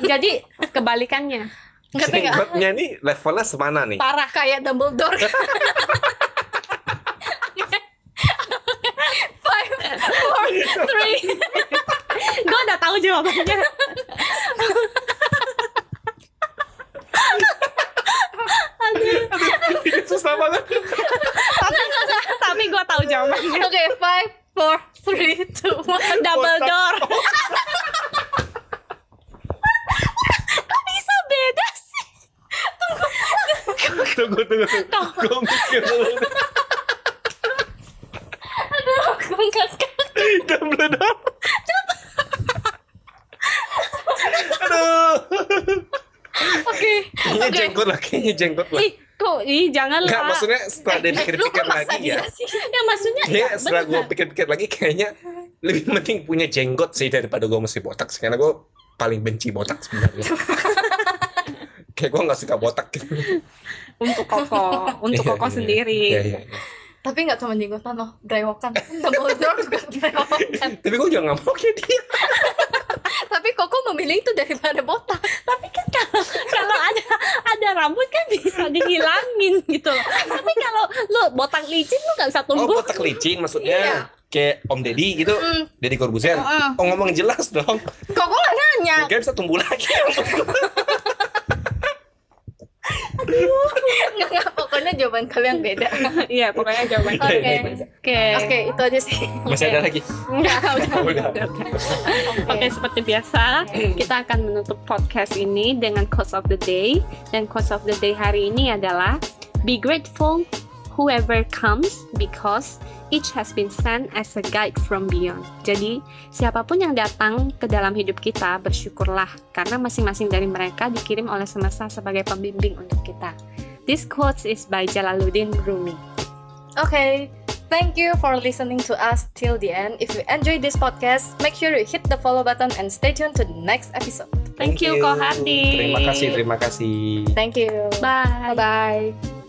S1: jadi kebalikannya.
S2: Ngerti nggak?
S3: Jenggotnya ini levelnya semana nih?
S2: Parah kayak Dumbledore. Five, four, three,
S1: Gue udah tahu jawabannya.
S3: Susah banget.
S1: tapi gue tahu jawabannya.
S2: Oke, five, four, three, two, one.
S1: Double
S3: Botak.
S1: door. Kok bisa beda sih?
S3: Oh, Tunggu, tunggu, tunggu. Gue mikir dulu.
S2: Gue nggak ngerti.
S3: Dan meledak. Aduh.
S2: Oke.
S3: Kayaknya jenggot lah, kayaknya jenggot lah.
S1: Ih, kok ih janganlah.
S3: Enggak, maksudnya setelah dia
S2: eh, Lu
S3: pikir-pikir
S2: kok maksa
S3: lagi ya.
S2: dia sih?
S1: Ya maksudnya
S3: Dia
S1: ya,
S3: Iya, setelah gue
S1: bener.
S3: pikir-pikir lagi kayaknya lebih penting punya jenggot sih daripada gue mesti botak sih. Karena gue paling benci botak sebenarnya. Kayak gue gak suka botak gitu.
S1: untuk koko, untuk
S3: Iya,
S1: koko
S3: iya.
S1: sendiri.
S3: Iya, iya. iya.
S2: Tapi nggak cuma jenggotan loh, brewokan. Dumbledore juga brewokan.
S3: Tapi gue juga gak mau kayak dia.
S2: Tapi Koko memilih itu daripada botak.
S1: Tapi kan kalau, kalau ada ada rambut kan bisa dihilangin gitu loh. Tapi kalau lu botak licin lu nggak bisa
S3: Oh,
S1: tumbuh.
S3: botak licin
S2: Iya.
S3: maksudnya. Kayak Om Deddy gitu.
S2: Hmm.
S3: Deddy Corbuzier.
S2: Heeh.
S3: Oh, ngomong jelas dong.
S2: Koko nggak nanya.
S1: Ah.
S3: Mungkin bisa tumbuh lagi.
S2: Nggak, nggak. Pokoknya jawaban kalian beda.
S1: Iya, pokoknya jawaban.
S2: Oke.
S1: Oke. Oke.
S2: Oke, itu aja sih.
S3: Masih ada lagi.
S1: Nggak, udah.
S3: Udah.
S1: Oke, seperti biasa, kita akan menutup podcast ini dengan quotes of the day. Dan quotes of the day hari ini adalah Be grateful whoever comes because each has been sent as a guide from beyond. Jadi, siapapun yang datang ke dalam hidup kita, bersyukurlah karena masing-masing dari mereka dikirim oleh semesta sebagai pembimbing untuk kita. This quote is by Jalaluddin Rumi.
S2: Okay, thank you for listening to us till the end. If you enjoyed this podcast, make sure you hit the follow button and stay tuned to the next episode.
S1: Thank you, Kohadi.
S3: Terima kasih, terima kasih.
S2: Thank you.
S1: Bye.
S2: Bye bye.